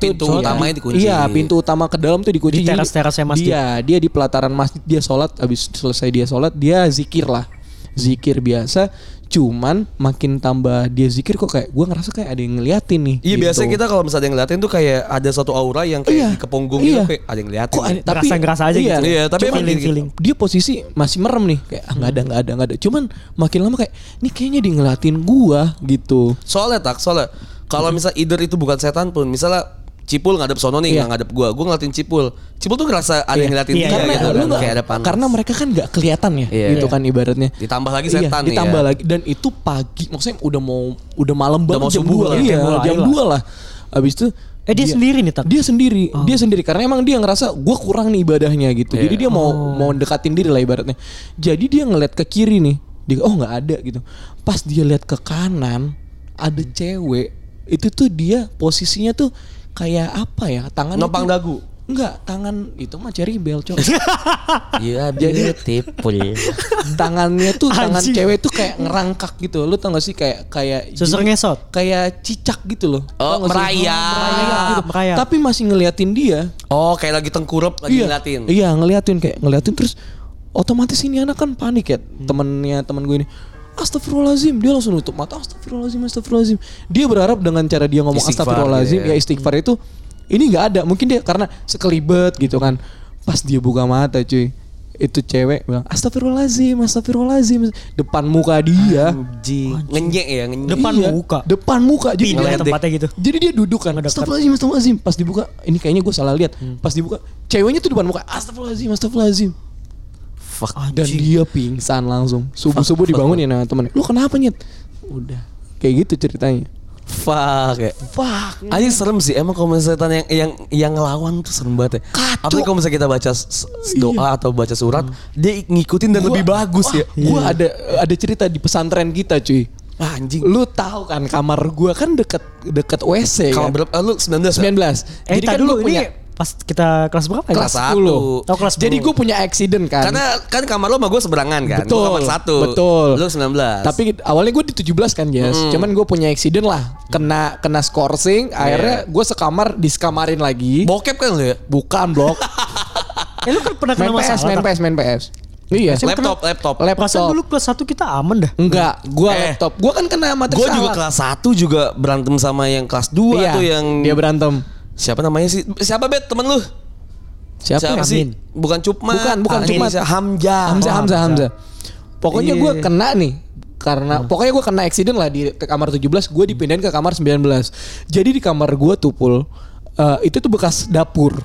[SPEAKER 1] Oh, pintu
[SPEAKER 2] tuh, sholat-
[SPEAKER 1] utamanya dikunci.
[SPEAKER 2] Iya pintu utama ke dalam tuh dikunci.
[SPEAKER 3] Di
[SPEAKER 2] Jadi
[SPEAKER 3] teras-terasnya masjid.
[SPEAKER 2] Dia dia di pelataran masjid dia sholat. Habis selesai dia sholat dia zikir lah. Zikir biasa. Cuman makin tambah dia zikir kok kayak gua ngerasa kayak ada yang ngeliatin nih.
[SPEAKER 1] Iya
[SPEAKER 2] gitu.
[SPEAKER 1] biasanya kita kalau misalnya ngeliatin tuh kayak ada satu aura yang kayak
[SPEAKER 2] Iya.
[SPEAKER 1] di kepunggung
[SPEAKER 2] Iya.
[SPEAKER 1] gitu kayak ada yang ngeliatin.
[SPEAKER 2] Kok ada-
[SPEAKER 1] ya.
[SPEAKER 2] tapi
[SPEAKER 3] Ngerasa-ngerasa aja
[SPEAKER 2] iya,
[SPEAKER 3] gitu.
[SPEAKER 1] Iya, tapi
[SPEAKER 3] Cuma
[SPEAKER 1] emang
[SPEAKER 3] feeling, feeling.
[SPEAKER 2] dia posisi masih merem nih kayak ah, nggak ada nggak ada nggak ada cuman makin lama kayak ini kayaknya dia ngeliatin gua gitu
[SPEAKER 1] Soalnya tak, soalnya kalau misal either itu bukan setan pun, misalnya Cipul ngadep sono nih, nggak ngadep gua. Gua ngeliatin Cipul. Cipul tuh ngerasa ada yang ngeliatin
[SPEAKER 3] Iya,
[SPEAKER 1] dia
[SPEAKER 2] karena
[SPEAKER 1] gitu kan.
[SPEAKER 2] lu nggak-
[SPEAKER 1] kayak ada panas.
[SPEAKER 2] karena mereka kan nggak kelihatan ya
[SPEAKER 1] Iya.
[SPEAKER 2] gitu kan ibaratnya
[SPEAKER 1] Ditambah lagi
[SPEAKER 2] Iya,
[SPEAKER 1] setan nih
[SPEAKER 2] ditambah
[SPEAKER 1] ya.
[SPEAKER 2] lagi dan itu pagi maksudnya udah mau udah malam banget
[SPEAKER 1] mau
[SPEAKER 2] jam
[SPEAKER 1] subuh
[SPEAKER 2] dua
[SPEAKER 1] lah. ya.
[SPEAKER 2] iya
[SPEAKER 3] Jam dua,
[SPEAKER 2] jam
[SPEAKER 3] ayolah.
[SPEAKER 2] dua lah abis itu
[SPEAKER 3] Eh, dia sendiri nih, Tat?
[SPEAKER 2] Iya. Nah, Dia sendiri,
[SPEAKER 3] Oh.
[SPEAKER 2] dia sendiri karena emang dia ngerasa gua kurang nih ibadahnya gitu.
[SPEAKER 1] Iya.
[SPEAKER 2] Jadi dia mau
[SPEAKER 3] Oh.
[SPEAKER 2] mau dekatin diri lah ibaratnya. Jadi dia ngeliat ke kiri nih, dia oh nggak ada gitu. Pas dia lihat ke kanan ada cewek. Itu tuh dia posisinya tuh kayak apa ya? Tangan
[SPEAKER 1] Nopang dagu.
[SPEAKER 2] Enggak, tangan itu mah cari belcok.
[SPEAKER 1] Iya, beautiful.
[SPEAKER 2] Tangannya tuh tangan
[SPEAKER 3] Anjing.
[SPEAKER 2] cewek tuh kayak ngerangkak gitu. Lu tau gak sih kayak kayak
[SPEAKER 3] Susur
[SPEAKER 2] jadi-
[SPEAKER 3] ngesot.
[SPEAKER 2] kayak cicak gitu loh.
[SPEAKER 1] Oh,
[SPEAKER 2] Tau nggak sih?
[SPEAKER 1] merayap.
[SPEAKER 2] Merayap gitu.
[SPEAKER 3] Merayap.
[SPEAKER 2] Tapi masih ngeliatin dia.
[SPEAKER 1] oh, kayak lagi tengkurap lagi
[SPEAKER 2] iya,
[SPEAKER 1] ngeliatin.
[SPEAKER 2] Iya, ngeliatin kayak ngeliatin terus otomatis ini anak kan panik ya.
[SPEAKER 1] Hmm.
[SPEAKER 2] Temennya teman gue ini Astagfirullahalazim, dia langsung nutup mata Astagfirullahalazim, Astagfirullahalazim. Dia berharap dengan cara dia ngomong
[SPEAKER 1] Istighfar,
[SPEAKER 2] Astagfirullahalazim,
[SPEAKER 1] iya.
[SPEAKER 2] ya istighfar itu ini nggak ada. Mungkin dia karena sekelibet gitu kan. Pas dia buka mata, cuy. Itu cewek bilang Astagfirullahalazim, Astagfirullahalazim depan muka dia.
[SPEAKER 1] Anjing. Ngenyek ya, ngenyek.
[SPEAKER 3] Depan
[SPEAKER 2] Iya,
[SPEAKER 3] muka.
[SPEAKER 2] Depan muka jadi
[SPEAKER 3] Pindah
[SPEAKER 2] ngeliat deh.
[SPEAKER 3] tempatnya gitu.
[SPEAKER 2] Jadi dia duduk kan.
[SPEAKER 3] Ngedekat.
[SPEAKER 2] Astagfirullahaladzim, astagfirullahaladzim. Pas dibuka, ini kayaknya gue salah lihat.
[SPEAKER 3] Hmm.
[SPEAKER 2] Pas dibuka, ceweknya tuh depan muka. Astagfirullahaladzim, astagfirullahaladzim.
[SPEAKER 1] Fuck.
[SPEAKER 2] Dan
[SPEAKER 3] Anjing.
[SPEAKER 2] dia pingsan langsung. Subuh-subuh dibangunin sama temen. Lu kenapa nyet? Udah. Kayak gitu ceritanya.
[SPEAKER 1] Fuck. Ya.
[SPEAKER 2] Fuck.
[SPEAKER 1] Anjing serem sih emang kalau misalnya setan yang yang yang ngelawan tuh serem banget ya.
[SPEAKER 2] Kacau.
[SPEAKER 1] Apalagi kalau misalnya kita baca s- s- doa atau baca surat, dia ngikutin dan lebih bagus ya.
[SPEAKER 2] Gue
[SPEAKER 3] Iya.
[SPEAKER 2] ada ada cerita di pesantren kita cuy.
[SPEAKER 1] Ah, anjing.
[SPEAKER 2] Lu tahu kan kamar gua kan deket deket WC
[SPEAKER 1] Kalau
[SPEAKER 2] kan.
[SPEAKER 1] berapa? Ah, Lu 19. ya?
[SPEAKER 2] 19.
[SPEAKER 3] Eh,
[SPEAKER 2] Jadi
[SPEAKER 3] tak
[SPEAKER 2] kan
[SPEAKER 3] dulu
[SPEAKER 2] gua
[SPEAKER 3] ini
[SPEAKER 2] punya
[SPEAKER 3] pas kita kelas berapa ya?
[SPEAKER 1] Kelas satu.
[SPEAKER 2] 10.
[SPEAKER 3] Oh, kelas
[SPEAKER 2] Jadi
[SPEAKER 3] 10.
[SPEAKER 2] gue punya accident kan.
[SPEAKER 1] Karena kan kamar lu sama gue seberangan kan.
[SPEAKER 2] Betul.
[SPEAKER 1] Gua kamar satu.
[SPEAKER 2] Betul.
[SPEAKER 1] Lu 19.
[SPEAKER 2] Tapi awalnya gue di 17 kan, Jas.
[SPEAKER 1] Hmm.
[SPEAKER 2] Cuman gue punya accident lah. Kena kena skorsing,
[SPEAKER 1] Iya.
[SPEAKER 2] akhirnya gue sekamar disekamarin lagi.
[SPEAKER 1] bokep kan lu ya?
[SPEAKER 2] Bukan, Blok.
[SPEAKER 3] Eh, lu kan pernah
[SPEAKER 2] main
[SPEAKER 3] kena
[SPEAKER 2] PS,
[SPEAKER 3] masalah.
[SPEAKER 2] main
[SPEAKER 3] tak?
[SPEAKER 2] PS, main PS. Iya.
[SPEAKER 3] Saya
[SPEAKER 1] Laptop,
[SPEAKER 3] kena-
[SPEAKER 1] laptop.
[SPEAKER 3] Perasaan
[SPEAKER 2] Laptop.
[SPEAKER 3] dulu kelas 1 kita aman dah.
[SPEAKER 2] Enggak, gue
[SPEAKER 1] Eh.
[SPEAKER 2] laptop. Gue kan kena materi
[SPEAKER 1] Gue juga kelas 1 juga berantem sama yang kelas 2
[SPEAKER 2] Iya,
[SPEAKER 1] tuh yang
[SPEAKER 2] dia berantem.
[SPEAKER 1] siapa namanya sih? Siapa bet temen lu?
[SPEAKER 2] Siapa?
[SPEAKER 1] siapa
[SPEAKER 2] ya?
[SPEAKER 1] sih? Bukan Cupma.
[SPEAKER 2] Bukan, bukan
[SPEAKER 1] Ah,
[SPEAKER 2] Cupma.
[SPEAKER 1] ini siapa? Hamzah.
[SPEAKER 2] Hamzah,
[SPEAKER 1] Oh,
[SPEAKER 2] Hamzah, Hamzah. Pokoknya
[SPEAKER 1] Iya. Hmm.
[SPEAKER 2] gue kena nih karena pokoknya gue kena accident lah di kamar 17 gue dipindahin ke kamar 19 jadi di kamar gue tuh pul eh, itu tuh bekas dapur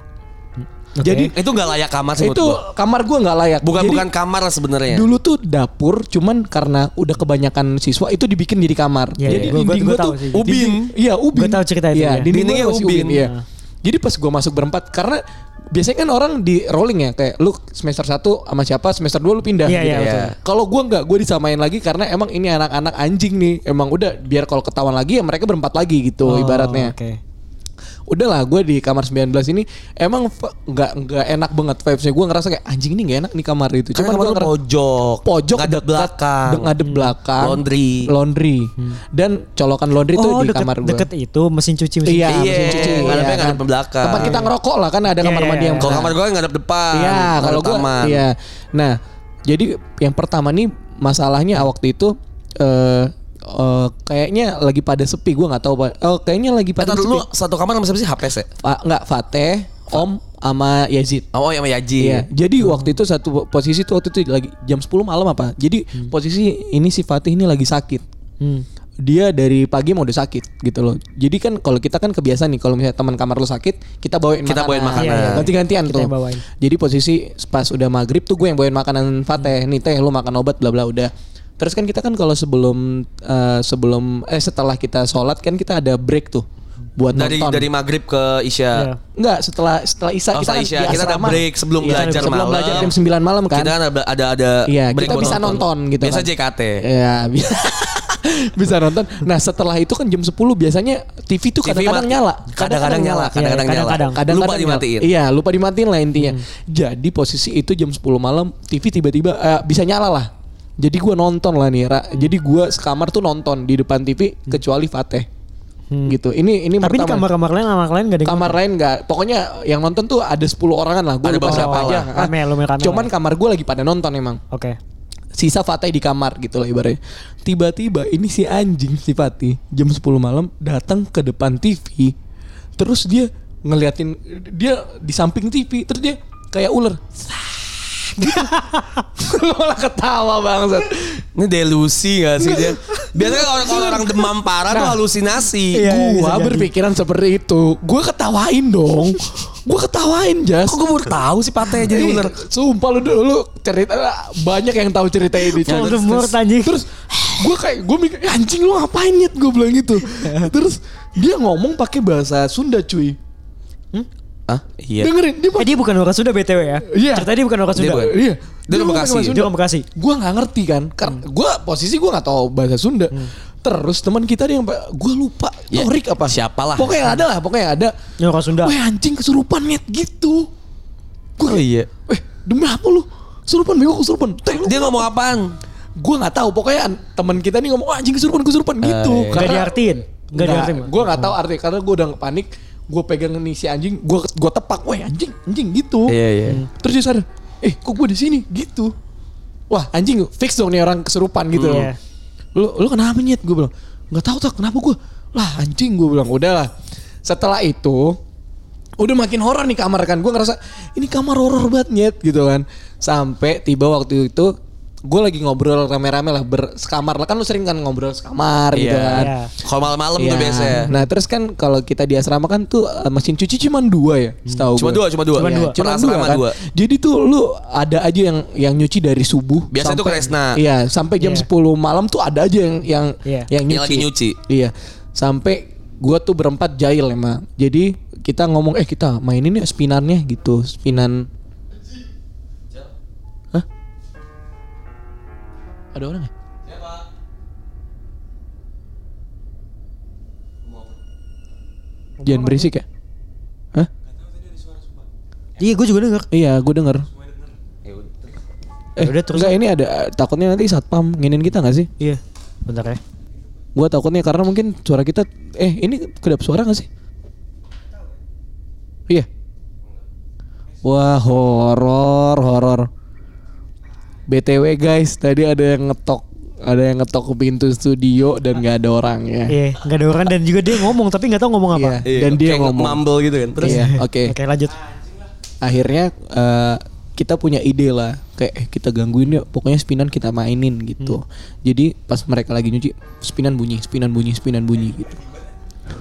[SPEAKER 1] Hmm.
[SPEAKER 2] jadi
[SPEAKER 1] Itu nggak layak kamar sih
[SPEAKER 2] itu
[SPEAKER 1] menurut gua.
[SPEAKER 2] kamar gue nggak layak
[SPEAKER 1] Bukan Iya.
[SPEAKER 2] Jadi,
[SPEAKER 1] bukan kamar lah sebenarnya.
[SPEAKER 2] dulu tuh dapur cuman karena udah kebanyakan siswa itu dibikin jadi kamar
[SPEAKER 3] Iya,
[SPEAKER 2] jadi
[SPEAKER 3] iya. Gua- gua-
[SPEAKER 2] dinding
[SPEAKER 3] gua
[SPEAKER 2] gue
[SPEAKER 3] tahu
[SPEAKER 2] tuh
[SPEAKER 3] sih.
[SPEAKER 1] Ubin.
[SPEAKER 2] Iya ubin.
[SPEAKER 3] Gua tahu cerita
[SPEAKER 2] Iya,
[SPEAKER 3] itu, ya.
[SPEAKER 2] dinding gua
[SPEAKER 1] Dindingnya
[SPEAKER 2] masih
[SPEAKER 1] ubin.
[SPEAKER 2] ubin. Iya.
[SPEAKER 3] Nah.
[SPEAKER 2] Jadi pas gue masuk berempat karena biasanya kan orang di rolling ya kayak lu semester 1 sama siapa semester 2 lu pindah
[SPEAKER 3] Iya,
[SPEAKER 2] gitu.
[SPEAKER 3] iya,
[SPEAKER 1] betul.
[SPEAKER 2] Kalau gua nggak gua disamain lagi karena emang ini anak-anak anjing nih. Emang udah biar kalau ketahuan lagi ya mereka berempat lagi gitu
[SPEAKER 3] Oh,
[SPEAKER 2] ibaratnya.
[SPEAKER 3] Oke.
[SPEAKER 2] udahlah gue di kamar 19 ini emang v- nggak nggak enak banget vibesnya gue ngerasa kayak anjing ini nggak enak nih kamar itu
[SPEAKER 1] Cuman
[SPEAKER 2] cuman
[SPEAKER 1] kamar
[SPEAKER 2] gue
[SPEAKER 1] lu pojok,
[SPEAKER 2] pojok
[SPEAKER 1] ngadep
[SPEAKER 2] dekat-
[SPEAKER 1] belakang.
[SPEAKER 2] de- ngadep belakang
[SPEAKER 1] Laundry.
[SPEAKER 2] laundry dan colokan laundry tuh
[SPEAKER 3] Oh,
[SPEAKER 2] di
[SPEAKER 3] deket,
[SPEAKER 2] kamar gue
[SPEAKER 3] deket itu mesin cuci mesin
[SPEAKER 2] iya
[SPEAKER 3] cuci.
[SPEAKER 1] Iya,
[SPEAKER 2] mesin cuci
[SPEAKER 1] ngadepnya
[SPEAKER 2] iya kan.
[SPEAKER 1] ngadep belakang.
[SPEAKER 2] tempat kita ngerokok lah kan ada kamar
[SPEAKER 3] iya,
[SPEAKER 2] mandi
[SPEAKER 3] iya.
[SPEAKER 2] yang
[SPEAKER 1] Kalau
[SPEAKER 2] besar.
[SPEAKER 1] kamar gue ngadep depan.
[SPEAKER 2] Iya,
[SPEAKER 1] ngadep
[SPEAKER 2] kalau gua
[SPEAKER 1] taman.
[SPEAKER 2] iya. Nah, jadi yang pertama nih masalahnya waktu itu eh eh, kayaknya lagi pada sepi gua nggak tahu Pak. Oh, kayaknya
[SPEAKER 1] Eh,
[SPEAKER 2] lagi pada
[SPEAKER 1] tar
[SPEAKER 2] sepi.
[SPEAKER 1] dulu satu kamar sama siapa sih? HPS ya?
[SPEAKER 2] Fa- nggak Fateh, Om sama Yazid.
[SPEAKER 1] Oh, yang sama Yaji.
[SPEAKER 2] Iya. Jadi
[SPEAKER 1] Hmm.
[SPEAKER 2] waktu itu satu po- posisi tuh waktu itu lagi jam 10 malam apa? Jadi
[SPEAKER 1] Hmm.
[SPEAKER 2] posisi ini si Fatih ini lagi sakit.
[SPEAKER 3] Hmm.
[SPEAKER 2] Dia dari pagi mau udah sakit gitu loh. Jadi kan kalau kita kan kebiasaan nih kalau misalnya teman kamar lu sakit, kita bawain
[SPEAKER 1] Kita
[SPEAKER 2] makanan.
[SPEAKER 1] bawain makanan.
[SPEAKER 2] Iya, iya. Ganti-gantian
[SPEAKER 3] Kita
[SPEAKER 2] tuh.
[SPEAKER 3] yang bawain.
[SPEAKER 2] Jadi posisi pas udah maghrib tuh gue yang bawain makanan Fateh.
[SPEAKER 1] Hmm.
[SPEAKER 2] Nih teh lu makan obat bla bla udah. Terus kan kita kan kalau sebelum eh, sebelum eh setelah kita sholat kan kita ada break tuh buat
[SPEAKER 1] Dari
[SPEAKER 2] nonton.
[SPEAKER 1] dari maghrib ke
[SPEAKER 3] Iya.
[SPEAKER 1] Isya.
[SPEAKER 2] Enggak, setelah setelah Isya
[SPEAKER 1] Oh, setelah
[SPEAKER 2] kita kan
[SPEAKER 1] Isya.
[SPEAKER 2] di
[SPEAKER 1] Kita ada
[SPEAKER 2] asrama. Iya,
[SPEAKER 1] break sebelum belajar
[SPEAKER 2] sebelum
[SPEAKER 1] malam.
[SPEAKER 2] belajar jam 9 malam kan.
[SPEAKER 1] Kita kan ada ada ada
[SPEAKER 2] Iya,
[SPEAKER 1] break
[SPEAKER 2] kita
[SPEAKER 1] buat
[SPEAKER 2] bisa nonton gitu
[SPEAKER 1] Biasa
[SPEAKER 2] kan.
[SPEAKER 1] JKT.
[SPEAKER 2] Iya, bi- bisa nonton. Nah, setelah itu kan jam 10 biasanya TV tuh
[SPEAKER 1] TV
[SPEAKER 2] kadang-kadang
[SPEAKER 1] mati.
[SPEAKER 2] nyala.
[SPEAKER 1] Kadang-kadang nyala, kadang-kadang
[SPEAKER 3] Iya,
[SPEAKER 1] nyala.
[SPEAKER 3] kadang-kadang.
[SPEAKER 1] Lupa
[SPEAKER 2] Kadang-kadang nyala.
[SPEAKER 1] dimatiin. Hmm.
[SPEAKER 2] Iya, lupa dimatiin lah intinya. Jadi posisi itu jam 10 malam TV tiba-tiba eh, bisa nyala lah. Jadi gua nonton lah nih, Ra. Jadi gua sekamar tuh nonton di depan TV kecuali Fateh.
[SPEAKER 1] Hmm.
[SPEAKER 2] Gitu. Ini ini
[SPEAKER 3] Tapi di
[SPEAKER 2] pertama.
[SPEAKER 3] kamar-kamar lain anak lain gak ada yang
[SPEAKER 2] kamar lain nggak pokoknya yang nonton tuh ada 10 orangan lah gue
[SPEAKER 1] Ada
[SPEAKER 2] lupa
[SPEAKER 1] beberapa
[SPEAKER 2] siapa aja
[SPEAKER 1] lah.
[SPEAKER 2] Ah,
[SPEAKER 3] Rame, lumayan rame
[SPEAKER 2] cuman
[SPEAKER 3] lah.
[SPEAKER 2] kamar gue lagi pada nonton emang
[SPEAKER 3] Oke.
[SPEAKER 2] sisa Fatih di kamar gitu lah ibaratnya tiba-tiba ini si anjing si Fatih jam 10 malam datang ke depan TV terus dia ngeliatin dia di samping TV terus dia kayak ular Lu malah ketawa bangsat
[SPEAKER 1] Ini delusi gak sih dia? Biasanya kalau orang, orang demam parah tuh
[SPEAKER 2] Nah.
[SPEAKER 1] halusinasi.
[SPEAKER 3] Iya,
[SPEAKER 2] gua
[SPEAKER 3] bisa jadi.
[SPEAKER 2] berpikiran seperti itu gua ketawain dong gua ketawain jas
[SPEAKER 1] Kok gue baru tahu sih Pate jadi
[SPEAKER 2] Ih,
[SPEAKER 1] ular.
[SPEAKER 2] Sumpah lu dulu lu cerita banyak yang tahu cerita ini. Chan.
[SPEAKER 3] Voldemort,
[SPEAKER 2] Terus-
[SPEAKER 3] anjing.
[SPEAKER 2] Terus gue kayak gue mikir "Ya, anjing lu ngapain nyet gue bilang gitu. terus dia ngomong pakai bahasa Sunda cuy.
[SPEAKER 1] Ah, iya.
[SPEAKER 2] Dengerin dia
[SPEAKER 3] Eh
[SPEAKER 2] pakai
[SPEAKER 3] dia bukan orang Sunda BTW ya?
[SPEAKER 2] Iya.
[SPEAKER 3] Ceritanya dia bukan orang
[SPEAKER 1] Dia
[SPEAKER 3] Sunda.
[SPEAKER 1] bukan.
[SPEAKER 2] Iya.
[SPEAKER 1] Dia orang Bekasi.
[SPEAKER 3] Dia orang Bekasi.
[SPEAKER 2] Gue nggak ngerti kan. Karena gue posisi gue nggak tahu bahasa Sunda. Terus teman kita ada yang gue lupa
[SPEAKER 1] Ya,
[SPEAKER 2] Torik apa?
[SPEAKER 1] siapalah.
[SPEAKER 2] Pokoknya ada lah, pokoknya ada.
[SPEAKER 3] Dia orang Sunda.
[SPEAKER 2] Wah anjing kesurupan nyet gitu. Gue
[SPEAKER 1] Oh, iya.
[SPEAKER 2] Eh demi apa lu? Kesurupan bego kesurupan. Teh, lu
[SPEAKER 1] Dia ngomong apaan?
[SPEAKER 2] gue nggak tahu pokoknya an- teman kita nih ngomong "Wah, anjing kesurupan kesurupan
[SPEAKER 1] iya.
[SPEAKER 2] gitu
[SPEAKER 3] Gak diartiin. Gak diartiin.
[SPEAKER 2] gue nggak tahu arti karena gue udah panik gue pegang nih si anjing gue gue tepak weh anjing anjing gitu
[SPEAKER 1] Iya, iya.
[SPEAKER 2] Hmm. terus dia sadar eh kok gue di sini gitu wah anjing fix dong nih orang kesurupan gitu
[SPEAKER 3] Hmm. Iya.
[SPEAKER 2] lu lu kenapa nyet gue bilang nggak tahu tak kenapa gue lah anjing gue bilang udahlah setelah itu udah makin horor nih kamar kan gue ngerasa ini kamar horor banget nyet gitu kan sampai tiba waktu itu gue lagi ngobrol rame-rame lah bersekamar lah kan lu sering kan ngobrol sekamar gitu
[SPEAKER 1] Iya.
[SPEAKER 2] kan
[SPEAKER 3] Iya.
[SPEAKER 1] Kalau malam-malam tuh
[SPEAKER 2] Iya.
[SPEAKER 1] biasanya.
[SPEAKER 2] Nah terus kan kalau kita di asrama kan tuh eh, mesin cuci cuman dua ya, setahu
[SPEAKER 1] Cuma
[SPEAKER 2] gue.
[SPEAKER 1] dua, cuma dua.
[SPEAKER 3] Cuma
[SPEAKER 2] Iya,
[SPEAKER 3] dua.
[SPEAKER 1] Per
[SPEAKER 2] cuman dua,
[SPEAKER 1] asrama
[SPEAKER 2] kan.
[SPEAKER 1] dua.
[SPEAKER 2] Jadi tuh lu ada aja yang yang nyuci dari subuh.
[SPEAKER 1] Biasanya tuh Kresna.
[SPEAKER 2] Iya, sampai jam
[SPEAKER 3] Iya.
[SPEAKER 2] 10 malam tuh ada aja yang yang
[SPEAKER 3] Iya.
[SPEAKER 2] yang nyuci.
[SPEAKER 1] Yang lagi nyuci.
[SPEAKER 2] Iya. Sampai gua tuh berempat jahil emang. Jadi kita ngomong eh kita mainin ya spinannya gitu, spinan. Hah? Ada orang ya? Jangan berisik ya. Hah?
[SPEAKER 3] Iya gue juga denger.
[SPEAKER 2] Iya, gue denger. Ya Eh,
[SPEAKER 3] Ya Udah, terus.
[SPEAKER 2] enggak, ini ada takutnya nanti satpam nginin kita nggak sih?
[SPEAKER 3] Iya. Bentar
[SPEAKER 2] Eh.
[SPEAKER 3] ya.
[SPEAKER 2] Gue takutnya karena mungkin suara kita eh ini kedap suara nggak sih? Iya. Wah, horor, horor. BTW guys, tadi ada yang ngetok, ada yang ngetok ke pintu studio dan nggak ada orangnya.
[SPEAKER 3] Iya. Gak ada orang dan juga dia ngomong tapi gak tahu ngomong apa.
[SPEAKER 2] Iya. Dan dia
[SPEAKER 1] kayak
[SPEAKER 2] ngomong.
[SPEAKER 1] mumble gitu kan. Terus
[SPEAKER 2] Iya, oke.
[SPEAKER 3] Oke lanjut.
[SPEAKER 2] akhirnya eh, kita punya ide lah kayak eh, kita gangguin ya pokoknya spinan kita mainin gitu
[SPEAKER 3] Hmm.
[SPEAKER 2] jadi pas mereka lagi nyuci spinan bunyi spinan bunyi spinan bunyi gitu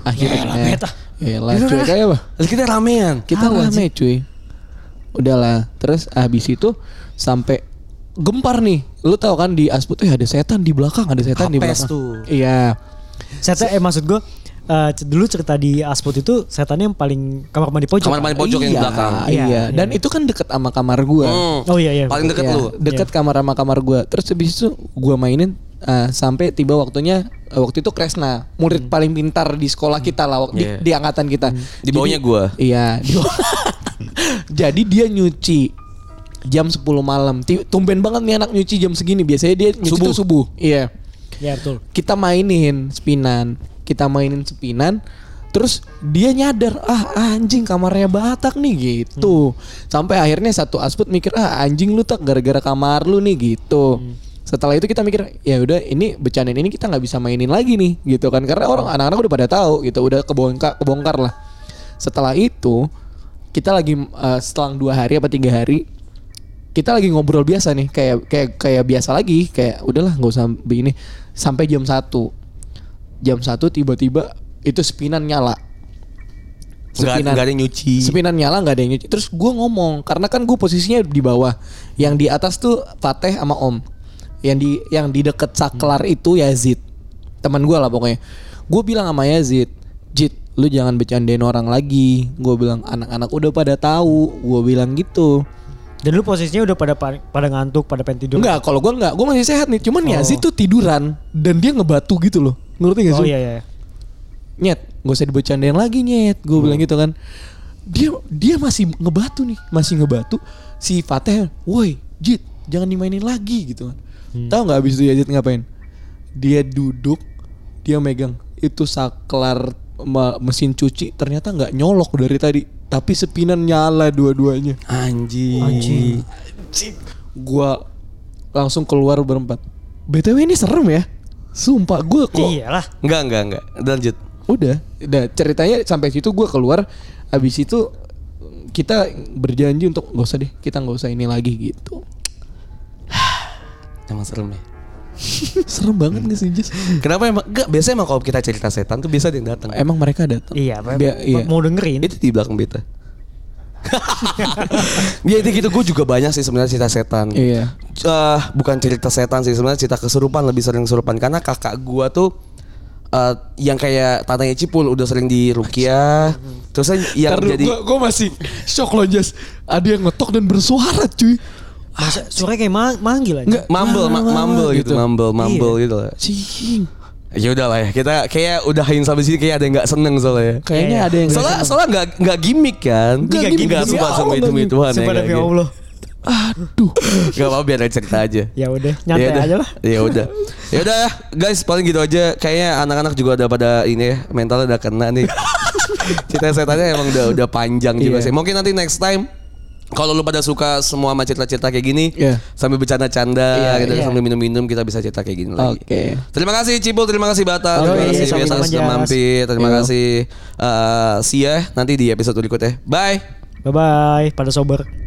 [SPEAKER 2] akhirnya
[SPEAKER 3] beta.
[SPEAKER 2] ya lah cuy kayak apa
[SPEAKER 1] Terus kita ramean.
[SPEAKER 2] kita rame cuy udahlah terus habis itu sampai gempar nih lu tahu ya, kan di asput eh ada setan di belakang ada setan di
[SPEAKER 1] Hapes
[SPEAKER 2] belakang
[SPEAKER 1] tuh.
[SPEAKER 2] iya
[SPEAKER 3] Saya tuh- eh maksud gue eh, c- dulu cerita di Aspot itu setannya yang paling kamar mandi pojok.
[SPEAKER 1] Kamar mandi pojok yang
[SPEAKER 2] iya,
[SPEAKER 1] belakang.
[SPEAKER 2] Iya,
[SPEAKER 3] Iya,
[SPEAKER 2] dan itu kan deket sama kamar gua.
[SPEAKER 1] Hmm.
[SPEAKER 3] Oh iya iya.
[SPEAKER 1] Paling deket
[SPEAKER 2] Iya,
[SPEAKER 1] lu.
[SPEAKER 2] Deket kamar sama kamar gua. Terus habis itu gua mainin eh, sampai tiba waktunya eh, waktu itu Kresna, murid paling pintar di sekolah kita lah wak- di-
[SPEAKER 1] Iya.
[SPEAKER 2] di, angkatan kita.
[SPEAKER 1] Di bawahnya
[SPEAKER 2] Jadi-
[SPEAKER 1] gua.
[SPEAKER 2] Iya. di- Jadi dia nyuci jam 10 malam. Ti- Tumben banget nih anak nyuci jam segini. Biasanya dia nyuci
[SPEAKER 1] Subuh.
[SPEAKER 2] tuh subuh. Iya.
[SPEAKER 3] Ya betul.
[SPEAKER 2] Kita mainin sepinan. Kita mainin sepinan. Terus dia nyadar, ah anjing kamarnya Batak nih gitu. Sampai akhirnya satu asput mikir, ah anjing lu tak gara-gara kamar lu nih gitu. Setelah itu kita mikir, ya udah ini bercandaan ini kita nggak bisa mainin lagi nih gitu kan. Karena orang anak-anak udah pada tahu gitu, udah kebongkar kebongkar lah. Setelah itu kita lagi eh, setelah dua hari apa tiga hari kita lagi ngobrol biasa nih kayak kayak kayak biasa lagi kayak udahlah nggak usah begini sampai jam satu jam satu tiba-tiba itu spinan nyala
[SPEAKER 1] Enggak enggak ada yang nyuci.
[SPEAKER 2] Sepinan nyala nggak ada yang nyuci. Terus gue ngomong karena kan gue posisinya di bawah, yang di atas tuh Fateh sama Om, yang di yang di deket saklar itu Yazid, teman gue lah pokoknya. Gue bilang sama Yazid, Jid, lu jangan bercandain orang lagi. Gue bilang anak-anak udah pada tahu. Gue bilang gitu.
[SPEAKER 3] Dan lu posisinya udah pada pa- pada ngantuk, pada pengen tidur.
[SPEAKER 2] Enggak, kalau gue enggak, gue masih sehat nih. Cuman Yazid tuh tiduran dan dia ngebatu gitu loh. Ngerti gak sih?
[SPEAKER 3] Oh iya iya.
[SPEAKER 2] nyet gak usah dibecandain lagi nyet gue
[SPEAKER 3] Hmm.
[SPEAKER 2] bilang gitu kan dia dia masih ngebatu nih masih ngebatu si Fateh woi Jit jangan dimainin lagi gitu kan
[SPEAKER 3] Hmm.
[SPEAKER 2] tahu nggak abis itu ya Jit ngapain dia duduk dia megang itu saklar me- mesin cuci ternyata nggak nyolok dari tadi tapi sepinan nyala dua-duanya
[SPEAKER 1] Anjing.
[SPEAKER 2] gua langsung keluar berempat btw ini serem ya sumpah gue kok
[SPEAKER 3] Iyalah.
[SPEAKER 1] Enggak enggak enggak. Lanjut.
[SPEAKER 2] udah udah ceritanya sampai situ gua keluar habis itu kita berjanji untuk nggak usah deh kita nggak usah ini lagi gitu
[SPEAKER 1] Emang serem ya.
[SPEAKER 2] serem banget nggak sih Jis?
[SPEAKER 1] Kenapa emang enggak biasanya emang kalau kita cerita setan tuh biasa ada yang datang.
[SPEAKER 2] emang mereka datang
[SPEAKER 3] Iya, apa-
[SPEAKER 2] Bia- iya.
[SPEAKER 3] mau dengerin.
[SPEAKER 1] Itu di belakang beta. ya itu gitu gue juga banyak sih sebenarnya cerita setan.
[SPEAKER 2] Iya.
[SPEAKER 1] Eh, bukan cerita setan sih sebenarnya cerita kesurupan lebih sering kesurupan karena kakak gua tuh eh, yang kayak tatanya cipul udah sering di Rukia. Terus yang
[SPEAKER 2] Ntar dulu,
[SPEAKER 1] jadi
[SPEAKER 2] gua, gua masih shock loh Jas ada yang ngetok dan bersuara cuy
[SPEAKER 3] Masa suaranya kayak ma- manggil aja.
[SPEAKER 2] Enggak.
[SPEAKER 1] mumble ma-
[SPEAKER 2] Wah,
[SPEAKER 1] mumble gitu,
[SPEAKER 2] gitu.
[SPEAKER 1] mumble mumble
[SPEAKER 3] Iya.
[SPEAKER 1] gitu lah.
[SPEAKER 2] Cing.
[SPEAKER 1] Ya udah lah ya kita kayak udahin sampai sini kayak ada yang nggak seneng soalnya. ya.
[SPEAKER 2] kayaknya
[SPEAKER 3] Iya, iya.
[SPEAKER 2] ada yang
[SPEAKER 1] Soalnya soalnya nggak nggak gimmick kan?
[SPEAKER 2] Nggak
[SPEAKER 1] Nggak
[SPEAKER 2] gimmick,
[SPEAKER 1] gimmick
[SPEAKER 2] demi
[SPEAKER 1] sumpah sama
[SPEAKER 2] Allah,
[SPEAKER 1] itu ituan ya.
[SPEAKER 3] Sumpah
[SPEAKER 1] nggak
[SPEAKER 3] demi
[SPEAKER 1] gimmick.
[SPEAKER 3] Allah.
[SPEAKER 2] aduh
[SPEAKER 1] Gak apa-apa biar ada cerita aja.
[SPEAKER 3] Ya udah, nyantai
[SPEAKER 1] Yaudah.
[SPEAKER 3] aja lah.
[SPEAKER 1] Ya udah. Ya udah ya, guys, paling gitu aja. Kayaknya anak-anak juga udah pada ini ya, mentalnya udah kena nih. cerita setannya emang udah udah panjang juga
[SPEAKER 2] Iya.
[SPEAKER 1] sih. Mungkin nanti next time kalau lu pada suka semua sama cerita-cerita kayak gini,
[SPEAKER 2] Iya.
[SPEAKER 1] sambil bercanda-canda
[SPEAKER 2] Iya,
[SPEAKER 1] gitu,
[SPEAKER 3] iya.
[SPEAKER 1] sambil minum-minum kita bisa cerita kayak gini lagi.
[SPEAKER 2] Oke.
[SPEAKER 1] Terima kasih Cipul, terima kasih Bata,
[SPEAKER 2] Oke,
[SPEAKER 1] terima kasih
[SPEAKER 3] sama-sama,
[SPEAKER 1] Biasa sudah
[SPEAKER 3] Jas.
[SPEAKER 1] mampir, terima
[SPEAKER 2] Yo.
[SPEAKER 1] kasih eh, Sia nanti di episode berikutnya. Bye.
[SPEAKER 3] Bye bye, pada sober.